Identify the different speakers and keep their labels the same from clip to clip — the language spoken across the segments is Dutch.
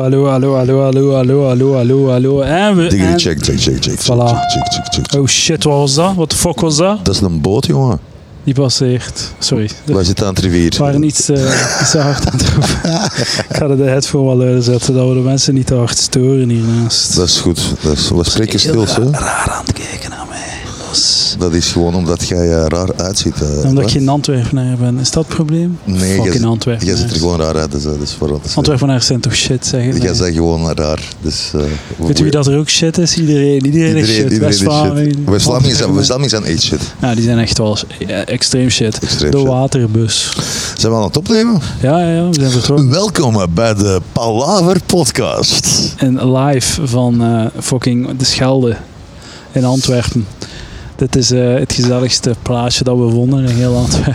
Speaker 1: Hallo, hallo, hallo, hallo, hallo, hallo, hallo, hallo. En we.
Speaker 2: Diggity,
Speaker 1: en-
Speaker 2: check, check, check, check, check,
Speaker 1: Voilà.
Speaker 2: check, check, check, check.
Speaker 1: Oh shit, wat was dat? Wat de fuck was dat?
Speaker 2: Dat is een boot, jongen.
Speaker 1: Die passeert. Sorry.
Speaker 2: Waar
Speaker 1: We
Speaker 2: zit aan het rivier?
Speaker 1: waren iets, eh, iets te hard aan het roepen. Ik ga er de headphone wel luider zetten, dat we de mensen niet te hard storen hiernaast.
Speaker 2: Dat is goed. Dat is, we spreken
Speaker 1: Heel
Speaker 2: stil,
Speaker 1: ra-
Speaker 2: hè?
Speaker 1: raar aan het kijken naar mij. Dat is-
Speaker 2: Dat is gewoon omdat jij eh, raar uitziet. eh,
Speaker 1: Omdat ik
Speaker 2: hè?
Speaker 1: geen Antwerpenaar ben. Is dat het probleem?
Speaker 2: Nee, jij
Speaker 1: Fucking
Speaker 2: zit- Jij
Speaker 1: Antwerpenaars.
Speaker 2: ziet er gewoon raar uit, dus, eh, dat is vooral. Dus, eh,
Speaker 1: Antwerpenaars zijn toch shit, zeggen
Speaker 2: Jij
Speaker 1: nee.
Speaker 2: bent gewoon raar. Dus, eh,
Speaker 1: Weet u wie dat er ook shit is? Iedereen. Iedereen, is shit. West-Vlamingen.
Speaker 2: West-Vlamingen zijn,
Speaker 1: Antwerpenaar.
Speaker 2: West-Vlamingen zijn echt shit.
Speaker 1: Ja, die zijn echt wel eh, extreem shit.
Speaker 2: Extreem
Speaker 1: de
Speaker 2: shit.
Speaker 1: waterbus.
Speaker 2: Zijn we aan het opnemen?
Speaker 1: Ja, ja, ja, we zijn vertrokken.
Speaker 2: Welkom eh, bij de Palaver Podcast.
Speaker 1: En live van eh, fucking de Schelde in Antwerpen. Dit is eh, het gezelligste plaatsje dat we vonden in heel Antwerpen.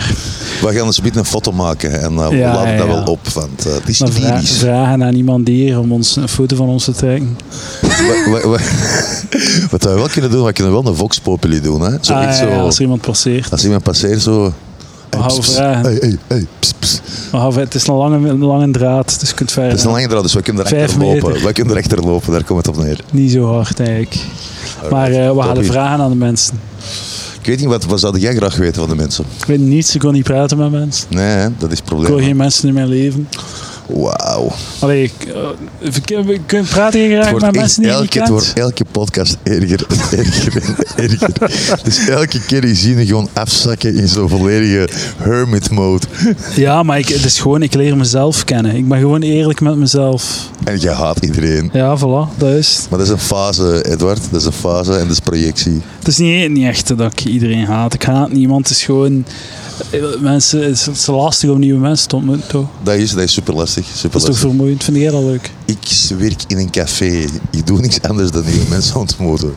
Speaker 2: We gaan dus een beetje een foto maken en eh, we
Speaker 1: Ja,
Speaker 2: laden dat
Speaker 1: ja, ja.
Speaker 2: wel op, want eh, het is
Speaker 1: Maar vra-
Speaker 2: lyrisch.
Speaker 1: vragen aan iemand hier om ons een foto van ons te trekken.
Speaker 2: Wa- wa- wa- Wat we wel kunnen doen, we kunnen wel een Vox Populi doen. Hè? Zo,
Speaker 1: Ah,
Speaker 2: echt
Speaker 1: ja,
Speaker 2: zo,
Speaker 1: ja, als
Speaker 2: als,
Speaker 1: er iemand passeert.
Speaker 2: iemand passeert, zo.
Speaker 1: We houden vragen.
Speaker 2: hey, hey, hey, pss, pss.
Speaker 1: Maar hou- het is een lange, een lange draad, dus je kunt
Speaker 2: Dat is een
Speaker 1: verder.
Speaker 2: lange draad, dus we kunnen
Speaker 1: Vijf
Speaker 2: erachter lopen.
Speaker 1: meter.
Speaker 2: We kunnen erachter lopen, daar komt het op neer.
Speaker 1: Niet zo hard eigenlijk. Maar eh, we halen
Speaker 2: Toppie.
Speaker 1: vragen aan de mensen.
Speaker 2: Ik weet niet, wat, wat zou jij graag weten van de mensen?
Speaker 1: Ik weet niets, ik wil niet praten met mensen.
Speaker 2: Nee, hè, dat is het
Speaker 1: Ik wil
Speaker 2: probleem.
Speaker 1: geen mensen in mijn leven.
Speaker 2: Wauw.
Speaker 1: Allee, ik, eh, ik- ik- ik praat hier
Speaker 2: Het
Speaker 1: graag
Speaker 2: wordt
Speaker 1: met
Speaker 2: echt
Speaker 1: mensen die je
Speaker 2: elke,
Speaker 1: niet
Speaker 2: het
Speaker 1: kent.
Speaker 2: wordt elke podcast erger en erger en erger. Dus elke keer die zien gewoon afzakken in zo'n volledige hermit mode.
Speaker 1: Ja, maar ik, het is gewoon, ik leer mezelf kennen. Ik ben gewoon eerlijk met mezelf.
Speaker 2: En je haat iedereen.
Speaker 1: Ja, voilà, dat is het.
Speaker 2: Maar dat is een fase, Edward. Dat is een fase en dat is projectie.
Speaker 1: Het is niet, niet echt dat ik iedereen haat. Ik haat niemand. Het is gewoon... eh, Mensen, het is, het is lastig om nieuwe mensen te ontmoeten, toch?
Speaker 2: Dat is, dat is super lastig. Super
Speaker 1: Dat is toch vermoeiend? Vind jij dat leuk?
Speaker 2: Ik werk in een café. Ik doe niks anders dan nieuwe mensen ontmoeten.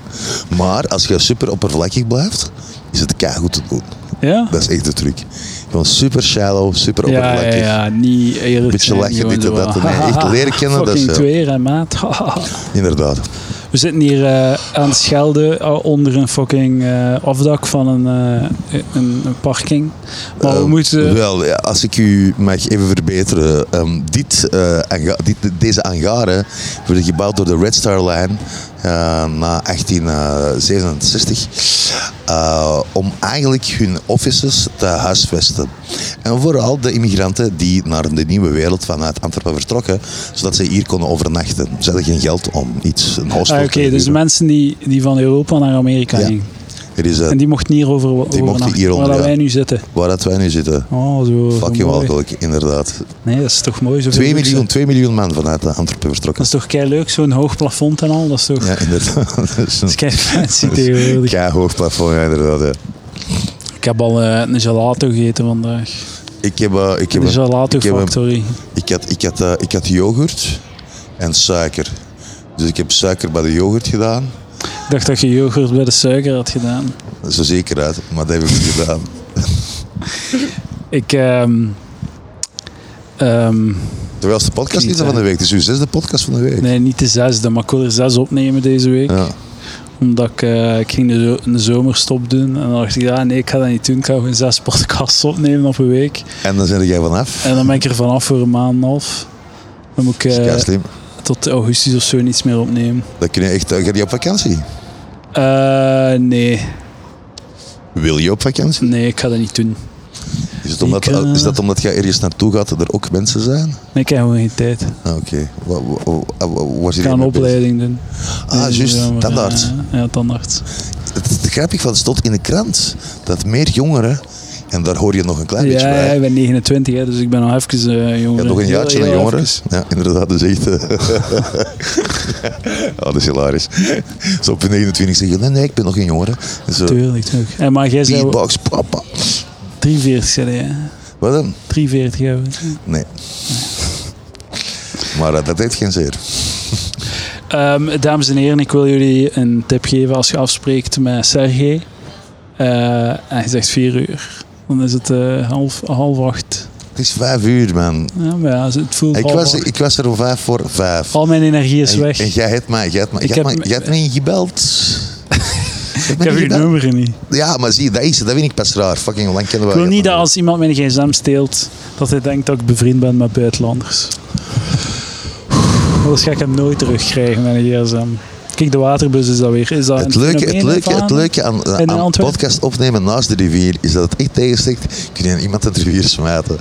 Speaker 2: Maar als je super oppervlakkig blijft, is het keihard te doen.
Speaker 1: Ja?
Speaker 2: Dat is echt de truc. Gewoon super shallow, super
Speaker 1: Ja, ja,
Speaker 2: oppervlakkig.
Speaker 1: ja, niet eerlijk
Speaker 2: Beetje
Speaker 1: zijn,
Speaker 2: lachen,
Speaker 1: gewoon
Speaker 2: dit en
Speaker 1: zo,
Speaker 2: dat en nee,
Speaker 1: haha,
Speaker 2: echt leren kennen, dat is,
Speaker 1: Fucking
Speaker 2: ja.
Speaker 1: tweeën, hè, maat.
Speaker 2: Inderdaad.
Speaker 1: We zitten hier eh, aan het Schelde eh, onder een fucking eh, afdak van een, eh, een, een parking. Maar we
Speaker 2: Ehm,
Speaker 1: moeten...
Speaker 2: Wel, ja, als ik u mag even verbeteren. ehm, dit, eh, anga- dit, deze hangaren werden gebouwd door de Red Star Line eh, na 1867. eh, om eigenlijk hun offices te huisvesten. En vooral de immigranten die naar de nieuwe wereld vanuit Antwerpen vertrokken, zodat ze hier konden overnachten. Ze hadden geen geld om iets, een hostel
Speaker 1: Ah, Oké,
Speaker 2: te huren.
Speaker 1: dus de mensen die, die van Europa naar Amerika
Speaker 2: Ja.
Speaker 1: gingen.
Speaker 2: Er is, eh,
Speaker 1: En die mochten hier over,
Speaker 2: mochten
Speaker 1: overnachten,
Speaker 2: hieronder,
Speaker 1: waar dat
Speaker 2: ja.
Speaker 1: wij nu zitten.
Speaker 2: waar dat wij nu zitten.
Speaker 1: Oh, zo. zo
Speaker 2: Fucking
Speaker 1: mooi.
Speaker 2: walgelijk, inderdaad.
Speaker 1: Nee, dat is toch mooi. zoveel
Speaker 2: 2
Speaker 1: luxe.
Speaker 2: miljoen, 2 miljoen man vanuit eh, Antwerpen
Speaker 1: Dat
Speaker 2: vertrokken.
Speaker 1: is toch kei leuk, zo'n hoog plafond en al. Dat is toch
Speaker 2: Ja, inderdaad. Dat is
Speaker 1: dat is
Speaker 2: een
Speaker 1: kei fancy tegenwoordig.
Speaker 2: kei hoog plafond, ja, inderdaad. ja.
Speaker 1: Ik heb al eh, een gelato gegeten vandaag.
Speaker 2: Ik, heb, eh, ik, heb,
Speaker 1: De
Speaker 2: een-
Speaker 1: gelato
Speaker 2: ik, heb een-
Speaker 1: factory.
Speaker 2: ik, had, ik, had, eh, ik had yoghurt en suiker. Dus ik heb suiker bij de yoghurt gedaan.
Speaker 1: Ik dacht dat je yoghurt bij de suiker had gedaan.
Speaker 2: Dat is er zeker uit, maar dat heb ik niet gedaan.
Speaker 1: Ik, ehm, ehm,
Speaker 2: Terwijl het de podcast
Speaker 1: Niet,
Speaker 2: is dat van de week. Het is uw zesde podcast van de week.
Speaker 1: nee, niet de zesde, maar ik wil er zes opnemen deze week.
Speaker 2: Ja.
Speaker 1: Omdat ik, eh, ik ging de, zo- een zomerstop doen. En dan dacht ik, ja, nee, ik ga dat niet doen. Ik ga gewoon zes podcasts opnemen op een week.
Speaker 2: En dan zijn jij vanaf.
Speaker 1: En dan ben ik er vanaf voor een maand en een half. Dan moet ik
Speaker 2: Dat is
Speaker 1: eh,
Speaker 2: kei slim.
Speaker 1: tot augustus of zo niets meer opnemen.
Speaker 2: Dan kun je echt... eh, Ga je op vakantie?
Speaker 1: Eh, nee,
Speaker 2: Wil je op vakantie?
Speaker 1: nee, ik ga dat niet doen.
Speaker 2: Is, het omdat,
Speaker 1: Ik, eh,
Speaker 2: is dat omdat jij ergens naartoe gaat dat er ook mensen zijn?
Speaker 1: Nee, ik heb gewoon geen tijd.
Speaker 2: Ah, Oké. Wa- wa- wa- wa- Waar zit
Speaker 1: Ik ga een
Speaker 2: je mee bezig?
Speaker 1: opleiding doen.
Speaker 2: Ah,
Speaker 1: Deze
Speaker 2: juist.
Speaker 1: zomer,
Speaker 2: Tandarts.
Speaker 1: eh, ja, tandarts.
Speaker 2: Het is grappig, want het stond in de krant dat meer jongeren, en daar hoor je nog een klein beetje
Speaker 1: Ja, ja,
Speaker 2: bij.
Speaker 1: ik ben 29, hè, dus ik ben nog even eh jonger.
Speaker 2: Ja, nog een
Speaker 1: Heel-
Speaker 2: jaartje
Speaker 1: heel
Speaker 2: naar
Speaker 1: even.
Speaker 2: jongeren. Ja, inderdaad, dat is echt... eh, oh, dat is hilarisch. Zo op je 29 zeg je, nee, nee, ik ben nog geen jongere. Zo,
Speaker 1: Tuurlijk, tuurlijk. En maar jij zei
Speaker 2: beatbox, papa.
Speaker 1: 43 zijn hè?
Speaker 2: Wat dan?
Speaker 1: 43 hebben
Speaker 2: Nee. Maar eh, dat deed geen zeer.
Speaker 1: Ehm, Dames en heren, ik wil jullie een tip geven als je afspreekt met Sergej. Eh, en je zegt 4 uur. Dan is het eh, half, half acht.
Speaker 2: Het is vijf uur, man.
Speaker 1: Ja, maar ja, het voelt
Speaker 2: Ik
Speaker 1: half
Speaker 2: was,
Speaker 1: acht.
Speaker 2: ik was er om vijf voor vijf.
Speaker 1: Al mijn energie is
Speaker 2: En-
Speaker 1: weg.
Speaker 2: En,
Speaker 1: Ik
Speaker 2: jij hebt mij, jij hebt mij,
Speaker 1: Ik
Speaker 2: jij hebt
Speaker 1: heb
Speaker 2: mij,
Speaker 1: me-
Speaker 2: jij hebt mij gebeld. Ik
Speaker 1: heb uw nummer niet.
Speaker 2: Ja, maar zie, dat is het. Dat vind ik pas raar. Fucking lang kennen we
Speaker 1: Ik wil niet dat
Speaker 2: elkaar.
Speaker 1: als iemand mijn gsm steelt, dat hij denkt dat ik bevriend ben met buitenlanders. Anders ga ik hem nooit terugkrijgen, mijn gsm. Kijk, de waterbus is dat weer. Is dat
Speaker 2: Het
Speaker 1: een
Speaker 2: leuke, het
Speaker 1: fenomeen
Speaker 2: leuke,
Speaker 1: in
Speaker 2: het
Speaker 1: Vlaanderen?
Speaker 2: leuke aan,
Speaker 1: in
Speaker 2: aan
Speaker 1: Antwerpen?
Speaker 2: podcast opnemen naast de rivier is dat het echt tegensteekt. Kun je aan iemand uit de rivier smijten.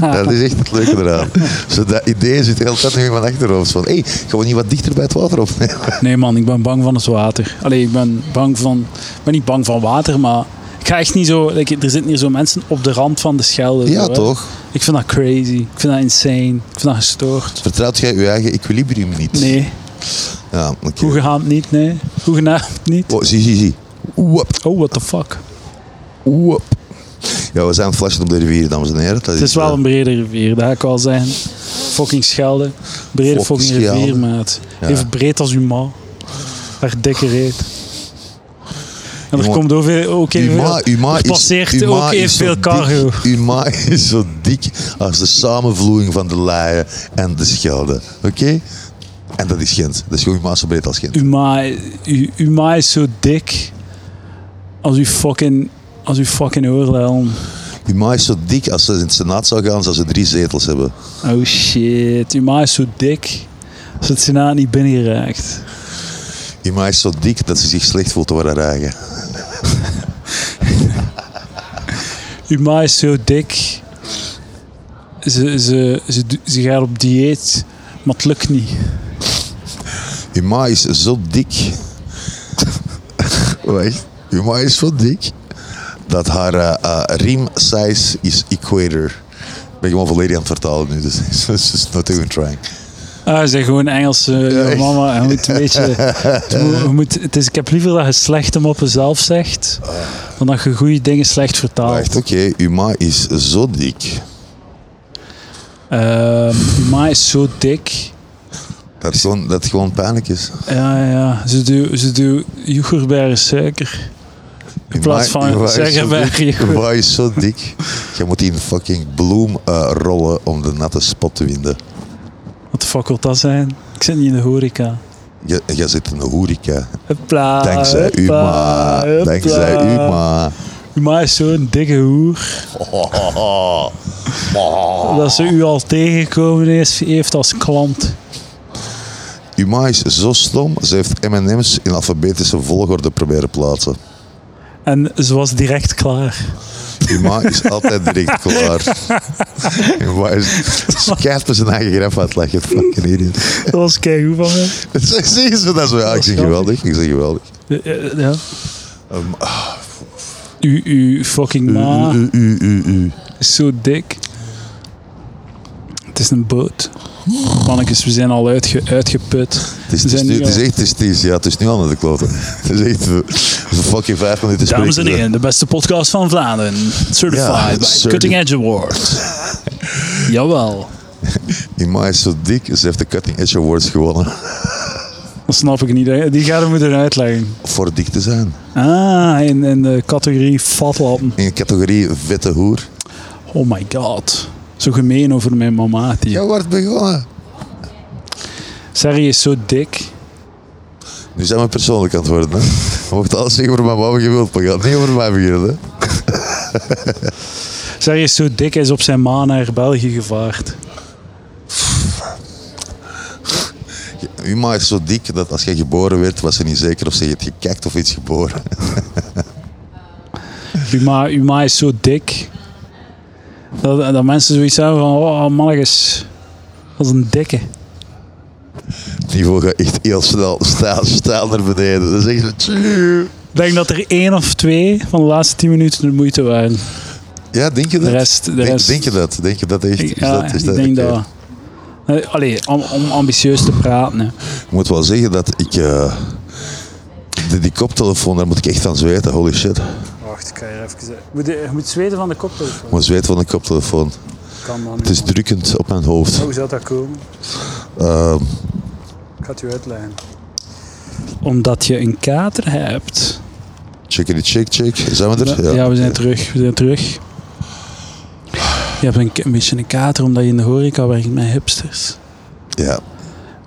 Speaker 2: dat is echt het leuke eraan. Zo dat idee zit heel tijd nu in mijn achterhoofd. Van, hé, hey, gaan we niet wat dichter bij het water opnemen?
Speaker 1: Nee man, ik ben bang van het water. Allee, ik ben bang van... Ik ben niet bang van water, maar... Ik ga echt niet zo... like, er zitten hier zo mensen op de rand van de Schelde.
Speaker 2: Ja,
Speaker 1: zo, hè.
Speaker 2: toch?
Speaker 1: Ik vind dat crazy. Ik vind dat insane. Ik vind dat gestoord.
Speaker 2: Vertrouwt jij je eigen equilibrium niet?
Speaker 1: Nee,
Speaker 2: Ja, oké.
Speaker 1: hoegenaamd niet, nee. Hoegenaamd niet.
Speaker 2: Oh, zie, zie, zie. Oep,
Speaker 1: Oh, what the fuck.
Speaker 2: oep. Ja, we zijn aan het flashen op de rivier, dames en heren. Dat
Speaker 1: Het is wel
Speaker 2: eh,
Speaker 1: een brede rivier, dat ik al zeggen. Fucking Schelde. Brede
Speaker 2: Fucking
Speaker 1: fucking rivier,
Speaker 2: Schelde.
Speaker 1: maat.
Speaker 2: Ja.
Speaker 1: Even breed als uw ma. Haar dikke reet. En er
Speaker 2: Jongen,
Speaker 1: komt ook, weer- ook even
Speaker 2: Uw ma,
Speaker 1: veel-
Speaker 2: uw ma
Speaker 1: er
Speaker 2: is,
Speaker 1: passeert
Speaker 2: uw ma
Speaker 1: ook
Speaker 2: is
Speaker 1: even
Speaker 2: zo
Speaker 1: veel
Speaker 2: dik-
Speaker 1: cargo.
Speaker 2: Uw ma is zo dik als de samenvloeiing van de Leien en de Schelde. Oké? En dat is Gent. Dat is gewoon uw ma zo breed als Gent.
Speaker 1: Uw ma, uw, uw ma is zo dik als uw fucking, als uw fucking oorlel.
Speaker 2: Uw ma is zo dik als ze in het Senaat zou gaan, zou ze drie zetels hebben.
Speaker 1: Oh shit, uw ma is zo dik als het senaat niet binnengeraakt.
Speaker 2: Uw ma is zo dik dat ze zich slecht voelt over haar eigen.
Speaker 1: Uw ma is zo dik. Ze, ze, ze, do- ze gaat op dieet, maar het lukt niet.
Speaker 2: Uw ma is zo dik. Wacht. Uw ma is zo dik dat haar eh, eh, riem size is equator. Ik ben gewoon volledig aan het vertalen nu, dus it's just not even trying.
Speaker 1: Ah, ze zijn gewoon Engelse
Speaker 2: echt.
Speaker 1: mama. Je moet een beetje, het, moet- je moet, het is, ik heb liever dat je slechte moppen zelf zegt, dan dat je goede dingen slecht vertaalt.
Speaker 2: Wacht, oké. Uw ma is zo dik.
Speaker 1: Ehm, uw ma is zo dik.
Speaker 2: Dat, is gewoon, dat gewoon pijnlijk is.
Speaker 1: Ja, ja. Ze doen ze doe yoghurt bij haar suiker. In plaats van suikerberg
Speaker 2: Uw
Speaker 1: yoghurt.
Speaker 2: ma is zo dik. Je moet die in fucking bloem eh, rollen om de natte spot te winnen.
Speaker 1: Wat de fuck wil dat zijn? Ik zit niet in de horeca.
Speaker 2: Je- Jij zit in de horeca.
Speaker 1: Hupla,
Speaker 2: Dankzij uw ma.
Speaker 1: hupla,
Speaker 2: Dankzij uw
Speaker 1: hupla.
Speaker 2: ma.
Speaker 1: Uw ma is zo'n dikke hoer. Dat ze u al tegengekomen is, heeft als klant.
Speaker 2: Uw ma is zo stom, ze heeft M&M's in alfabetische volgorde proberen plaatsen.
Speaker 1: En ze was direct klaar.
Speaker 2: Uw ma is altijd direct klaar. Uw ma is... Ze kijkt met zijn eigen graf uit, like, fucking idiot.
Speaker 1: Dat was keigoed van mij.
Speaker 2: Zeggen ze dat zo? Ja, ik zeg geweldig, ik zeg geweldig.
Speaker 1: Ja, ja, Eh, Ja.
Speaker 2: Um,
Speaker 1: U, u fucking ma
Speaker 2: U, u, u, u.
Speaker 1: is zo dik. Het is een boot. Mannetjes, we zijn al uitge, uitgeput.
Speaker 2: Het
Speaker 1: We
Speaker 2: is, het is,
Speaker 1: zijn
Speaker 2: nu,
Speaker 1: nu
Speaker 2: het is
Speaker 1: al-
Speaker 2: echt, het is, het is- ja, het is nu al naar de kloten. Het is echt eh, zo'n fucking vijf minuten
Speaker 1: Dames en
Speaker 2: spreken.
Speaker 1: heren, de beste podcast van Vlaanderen. Certified
Speaker 2: Ja,
Speaker 1: by
Speaker 2: certi-
Speaker 1: Cutting Edge Award. Jawel.
Speaker 2: Die ma is zo dik, ze heeft de Cutting Edge Awards gewonnen.
Speaker 1: Dat snap ik niet. hè. Die gaan we moeten uitleggen.
Speaker 2: Voor dik te zijn.
Speaker 1: Ah, in, in de categorie fatlappen.
Speaker 2: In de categorie vette hoer.
Speaker 1: Oh my god. Zo gemeen over mijn mama. Die.
Speaker 2: Jij wordt begonnen.
Speaker 1: Sarri is zo dik.
Speaker 2: Nu zijn we persoonlijk aan het worden. Hè? Je mocht alles zeggen over mijn mama je wilt, maar je gaat niet over mij beginnen. Hè?
Speaker 1: Sarri is zo dik, hij is op zijn ma naar België gevaard.
Speaker 2: Uw ma is zo dik dat als jij geboren werd, was ze niet zeker of ze heeft gekakt of iets geboren.
Speaker 1: Uw ma, uw ma is zo dik. Dat, dat mensen zoiets hebben van, oh mannetjes, dat is een dikke.
Speaker 2: Het niveau gaat echt heel snel staal, staal naar beneden. Dan zeggen ze... "Tjoe."
Speaker 1: Ik denk dat er één of twee van de laatste tien minuten de moeite waren.
Speaker 2: Ja, denk je dat?
Speaker 1: De rest- de
Speaker 2: denk,
Speaker 1: rest-
Speaker 2: denk je dat? Denk je dat echt? Is
Speaker 1: Ik, ja,
Speaker 2: dat, is
Speaker 1: ik
Speaker 2: dat,
Speaker 1: denk
Speaker 2: oké.
Speaker 1: dat... Eh, Allee, om, om ambitieus te praten. hè.
Speaker 2: Ik moet wel zeggen dat ik... eh, die, die koptelefoon, daar moet ik echt aan zweten. Holy shit. Ik
Speaker 1: Wacht, ik ga hier even... Je moet, je moet zweten van de koptelefoon.
Speaker 2: moet zweten van de koptelefoon.
Speaker 1: Kan dan
Speaker 2: Het is drukkend op mijn hoofd.
Speaker 1: Hoe zou dat komen?
Speaker 2: Ehm,
Speaker 1: Ik ga het u uitleggen. Omdat je een kater hebt.
Speaker 2: Chickity chick chick. Zijn we er?
Speaker 1: Ja, we zijn terug. We zijn terug. Je hebt een, een beetje een kater omdat je in de horeca werkt met hipsters.
Speaker 2: Ja.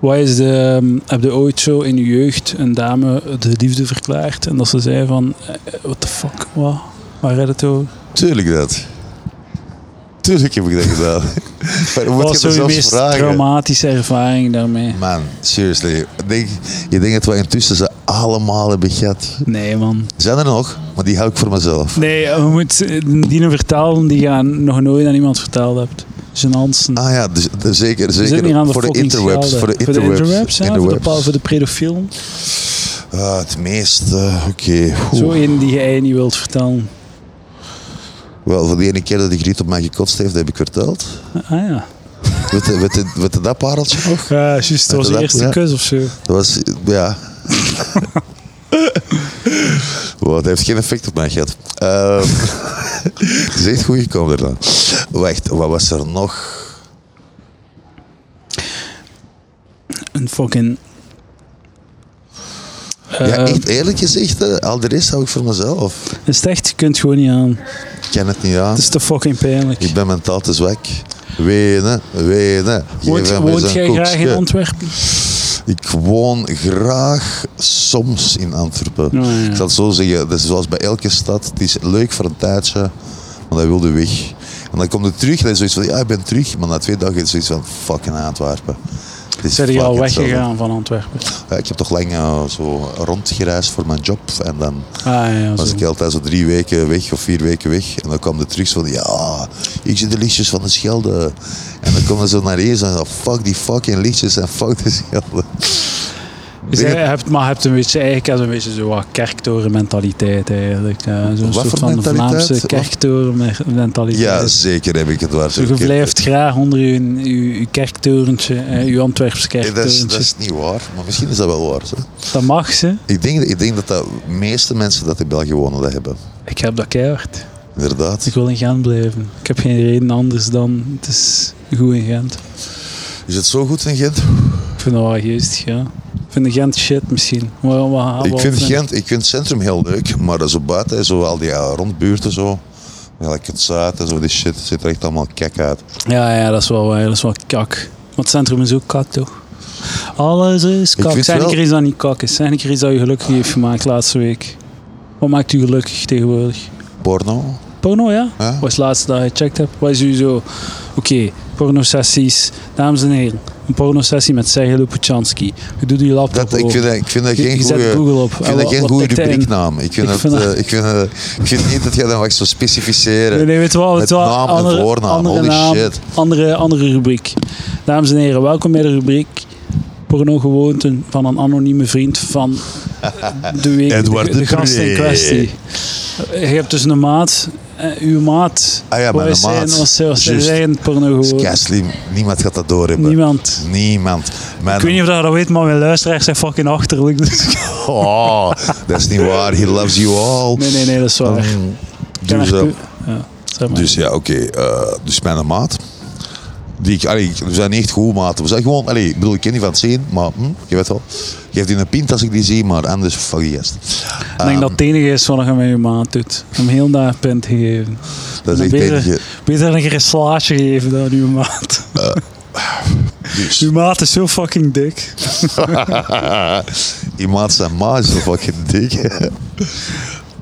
Speaker 1: Wat is de, ehm, heb je ooit zo in je jeugd een dame de liefde verklaard? En dat ze zei van, eh, what the fuck, wat? Waar gaat het over?
Speaker 2: Tuurlijk dat. Tuurlijk heb ik dat gedaan. maar moet
Speaker 1: Wat
Speaker 2: je
Speaker 1: is zo
Speaker 2: er
Speaker 1: je
Speaker 2: zelfs
Speaker 1: meest
Speaker 2: vragen?
Speaker 1: traumatische ervaring daarmee?
Speaker 2: Man, seriously. Ik Denk, je denkt dat we intussen ze allemaal hebben gehad.
Speaker 1: Nee, man.
Speaker 2: Zijn er nog, maar die hou ik voor mezelf.
Speaker 1: Nee, eh, we moeten dingen vertellen die je nog nooit aan iemand verteld hebt. Genantsen.
Speaker 2: Ah ja, dus, dus
Speaker 1: Ze
Speaker 2: zeker,
Speaker 1: zit niet
Speaker 2: zeker
Speaker 1: aan de
Speaker 2: voor de
Speaker 1: fucking
Speaker 2: interwebs.
Speaker 1: schelden.
Speaker 2: Voor de interwebs.
Speaker 1: ja,
Speaker 2: in de
Speaker 1: voor, de,
Speaker 2: webs.
Speaker 1: pa- voor de pedofielen.
Speaker 2: Ah, het meeste, oké. Oeh.
Speaker 1: Zo één die jij niet wilt vertellen.
Speaker 2: Wel, voor de ene keer dat die griet op mij gekotst heeft, heb ik verteld.
Speaker 1: Ah ja.
Speaker 2: Weet je- weet je- weet je dat pareltje nog?
Speaker 1: Ja, juist. Dat was de
Speaker 2: dat-
Speaker 1: eerste
Speaker 2: ja.
Speaker 1: kus of zo.
Speaker 2: Dat was, ja. wow, dat heeft geen effect op mij gehad. Ehm, Het is echt goed gekomen dan. Wacht, wat was er nog?
Speaker 1: Een fucking...
Speaker 2: ja,
Speaker 1: Eh,
Speaker 2: echt eerlijk gezegd, eh, al de rest hou ik voor mezelf.
Speaker 1: Is het echt, je kunt het gewoon niet aan.
Speaker 2: Ik ken het niet aan.
Speaker 1: Het is te fucking pijnlijk.
Speaker 2: Ik ben mentaal te zwak. Wenen, wenen. Geef
Speaker 1: Woont,
Speaker 2: hem
Speaker 1: woont
Speaker 2: eens
Speaker 1: jij
Speaker 2: een
Speaker 1: graag in
Speaker 2: koekske.
Speaker 1: Antwerpen?
Speaker 2: Ik woon graag soms in Antwerpen.
Speaker 1: Ja, Oh, ja, ja.
Speaker 2: Ik zal het zo zeggen, dat is zoals bij elke stad. Het is leuk voor een tijdje, maar dat wilde weg. En dan komt het terug en dan is zoiets van, ja, ik ben terug. Maar na twee dagen is het zoiets van, fucking Antwerpen. Het is
Speaker 1: Zijn die al
Speaker 2: fucking hetzelfde.
Speaker 1: weggegaan van Antwerpen? Ah,
Speaker 2: Ja, ik heb toch lang eh, zo rondgereisd voor mijn job. En dan
Speaker 1: Ah ja,
Speaker 2: was
Speaker 1: zo.
Speaker 2: ik altijd zo drie weken weg of vier weken weg. En dan kwam de terug zo van, ja, ik zie de lichtjes van de Schelde. En dan komen ze naar eens en zo, fuck die fucking lichtjes en fuck de Schelde.
Speaker 1: Dus jij hebt, maar hebt een beetje, eigenlijk heb je een beetje zo wat kerktorenmentaliteit eigenlijk. eh, Zo'n
Speaker 2: Wat
Speaker 1: soort
Speaker 2: voor
Speaker 1: van
Speaker 2: mentaliteit?
Speaker 1: Vlaamse
Speaker 2: Wat?
Speaker 1: kerktorenmentaliteit.
Speaker 2: Ja, zeker heb ik het waar.
Speaker 1: Zo,
Speaker 2: zeker.
Speaker 1: je blijft graag onder je, je, je kerktorentje, eh, je Antwerps
Speaker 2: Nee, dat, is,
Speaker 1: kerktorentje.
Speaker 2: dat is niet waar, maar misschien is dat wel waar. Zo.
Speaker 1: Dat mag ze.
Speaker 2: Ik, denk, ik denk dat de meeste mensen dat in België wonen dat hebben.
Speaker 1: Ik heb dat keihard.
Speaker 2: Inderdaad.
Speaker 1: Ik wil in Gent blijven. Ik heb geen reden anders dan, het is goed in Gent.
Speaker 2: Is het zo goed in Gent?
Speaker 1: Ik vind dat wel geestig, ja. Ik vind Gent shit misschien. Maar, maar,
Speaker 2: ik,
Speaker 1: wat-
Speaker 2: vind Gent ik vind het centrum heel leuk, maar zo buiten, zo al die eh, rondbuurten zo. Ja, like het zuid en zo, die shit, ziet er echt allemaal kek uit.
Speaker 1: Ja, ja, dat is wel waar. Dat is wel kak. Want het centrum is ook kak, toch? Alles is kak.
Speaker 2: vind
Speaker 1: Zijn
Speaker 2: wel-
Speaker 1: keer is dat niet kak is. Zijn keer is dat je gelukkig heeft gemaakt laatste week. Wat maakt u gelukkig tegenwoordig?
Speaker 2: Porno?
Speaker 1: Porno, ja?
Speaker 2: Ja.
Speaker 1: Wat is het laatste dat je gecheckt hebt? Wat is u zo... Oké, pornosessies. Dames en heren, een pornosessie met Sergej Lopochanski. Je doet je laptop
Speaker 2: Dat, ik,
Speaker 1: open.
Speaker 2: vind, dat- ik vind dat
Speaker 1: Je-
Speaker 2: geen
Speaker 1: je zet
Speaker 2: goede...
Speaker 1: Google op.
Speaker 2: Ik vind dat geen nou. goede rubrieknaam. Ik vind,
Speaker 1: Ik
Speaker 2: dat,
Speaker 1: vind dat-
Speaker 2: eh, ik, vind, eh, ik vind niet dat jij dat mag zo specificeren.
Speaker 1: Nee, nee, weet je wel, weet je wel,
Speaker 2: Met naam en
Speaker 1: andere,
Speaker 2: voornaam,
Speaker 1: andere
Speaker 2: holy
Speaker 1: naam,
Speaker 2: shit.
Speaker 1: Andere, andere rubriek. Dames en heren, welkom bij de rubriek Porno-gewoonten van een anonieme vriend van de week,
Speaker 2: Edward
Speaker 1: de, de
Speaker 2: de
Speaker 1: gast in
Speaker 2: Pre.
Speaker 1: kwestie. Je hebt dus een maat, eh, uw maat,
Speaker 2: Ah ja,
Speaker 1: wat
Speaker 2: mijn
Speaker 1: is zijn,
Speaker 2: maat.
Speaker 1: wat zijn, wat zijn
Speaker 2: Juist.
Speaker 1: zijn
Speaker 2: Dat is
Speaker 1: porno-gewoonten?
Speaker 2: keislim. Niemand gaat dat doorhebben.
Speaker 1: Niemand.
Speaker 2: Niemand. Mijn-
Speaker 1: Ik weet niet of dat je dat weet, maar mijn luisteraars zijn fucking achterlijk. dus-
Speaker 2: Oh, dat is niet waar. He loves you all.
Speaker 1: Nee, nee, nee, dat is waar. Ik
Speaker 2: Um,
Speaker 1: ken
Speaker 2: dus,
Speaker 1: haar
Speaker 2: eh,
Speaker 1: pu- ja, zeg maar.
Speaker 2: dus ja, oké. eh, dus mijn maat. Die ik, allee, we zijn niet echt goed maten. We zijn gewoon, allee, ik bedoel, ik ken die van het zien, maar hm, je weet wel. Geeft die een pint als ik die zie, maar anders fuck die gast.
Speaker 1: Ik denk dat
Speaker 2: Ehm,
Speaker 1: het enige is wat je met je maat doet. Hem heel daar pint gegeven.
Speaker 2: Dat is
Speaker 1: Dan
Speaker 2: echt
Speaker 1: ben
Speaker 2: het
Speaker 1: je-
Speaker 2: enige.
Speaker 1: Beter dan een keer een slaatje geven dan uw maat.
Speaker 2: Dus,
Speaker 1: Uw maat is zo fucking dik.
Speaker 2: die maat zijn ma is zo fucking dik.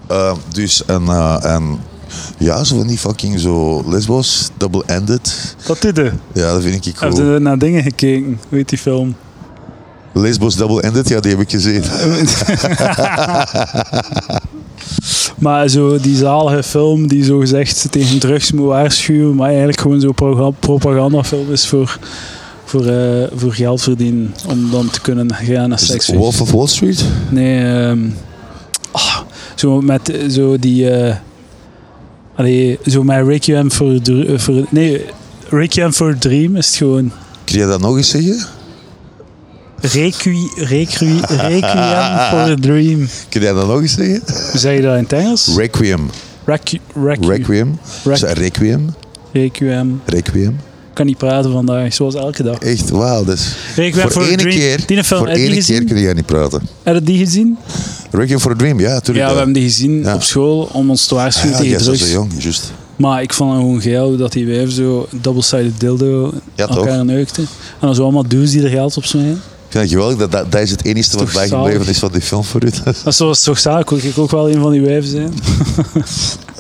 Speaker 2: Eh, dus, en, eh, en ja, zo van die fucking zo lesbos, double-ended.
Speaker 1: Wat dit er?
Speaker 2: Ja, dat vind ik
Speaker 1: Heb
Speaker 2: cool.
Speaker 1: je naar dingen gekeken? Hoe heet die film?
Speaker 2: Lesbos Double Ended, ja, die heb ik gezien.
Speaker 1: Maar zo die zalige film die zo gezegd tegen drugs moet waarschuwen, maar eigenlijk gewoon zo'n progra- propagandafilm is voor, voor, eh, voor geld verdienen. Om dan te kunnen gaan naar
Speaker 2: Is het
Speaker 1: seks.
Speaker 2: Wolf of Wall Street?
Speaker 1: Nee, ehm, ah, zo met eh, zo die. eh, allee, zo met Requiem for, a Dr- eh, for. Nee, Requiem for a Dream is het gewoon.
Speaker 2: Kun je dat nog eens zeggen?
Speaker 1: Requi, requi, requiem for a Dream.
Speaker 2: Kun je dat nog eens zeggen?
Speaker 1: Hoe zeg je dat in het Engels?
Speaker 2: Requiem.
Speaker 1: Requi, requi,
Speaker 2: Requiem.
Speaker 1: Requ-
Speaker 2: Is dat Requiem?
Speaker 1: requiem.
Speaker 2: Requiem.
Speaker 1: Ik kan niet praten vandaag, zoals elke dag.
Speaker 2: Echt, wauw. Dat is...
Speaker 1: Requiem
Speaker 2: Voor
Speaker 1: a
Speaker 2: één
Speaker 1: Dream.
Speaker 2: keer,
Speaker 1: Die film,
Speaker 2: voor
Speaker 1: heb je die
Speaker 2: één keer
Speaker 1: gezien?
Speaker 2: kun je niet praten.
Speaker 1: Heb je die gezien?
Speaker 2: Requiem for a Dream, ja,
Speaker 1: Ja,
Speaker 2: natuurlijk.
Speaker 1: we hebben die gezien
Speaker 2: Ja.
Speaker 1: op school om ons te waarschuwen
Speaker 2: ja,
Speaker 1: tegen
Speaker 2: jij was
Speaker 1: drugs.
Speaker 2: zo jong, juist.
Speaker 1: Maar ik vond het gewoon geil dat die wijf zo double-sided dildo
Speaker 2: Ja,
Speaker 1: elkaar
Speaker 2: toch?
Speaker 1: neukte. En dan zo allemaal dudes die er geld op smijten.
Speaker 2: vind het geweldig. Dat, dat, dat is het enige wat
Speaker 1: Toch
Speaker 2: bijgebleven
Speaker 1: zalig.
Speaker 2: is van die film voor u.
Speaker 1: Dat is toch- toch zalig, wil ik ook wel een van die wijven zijn.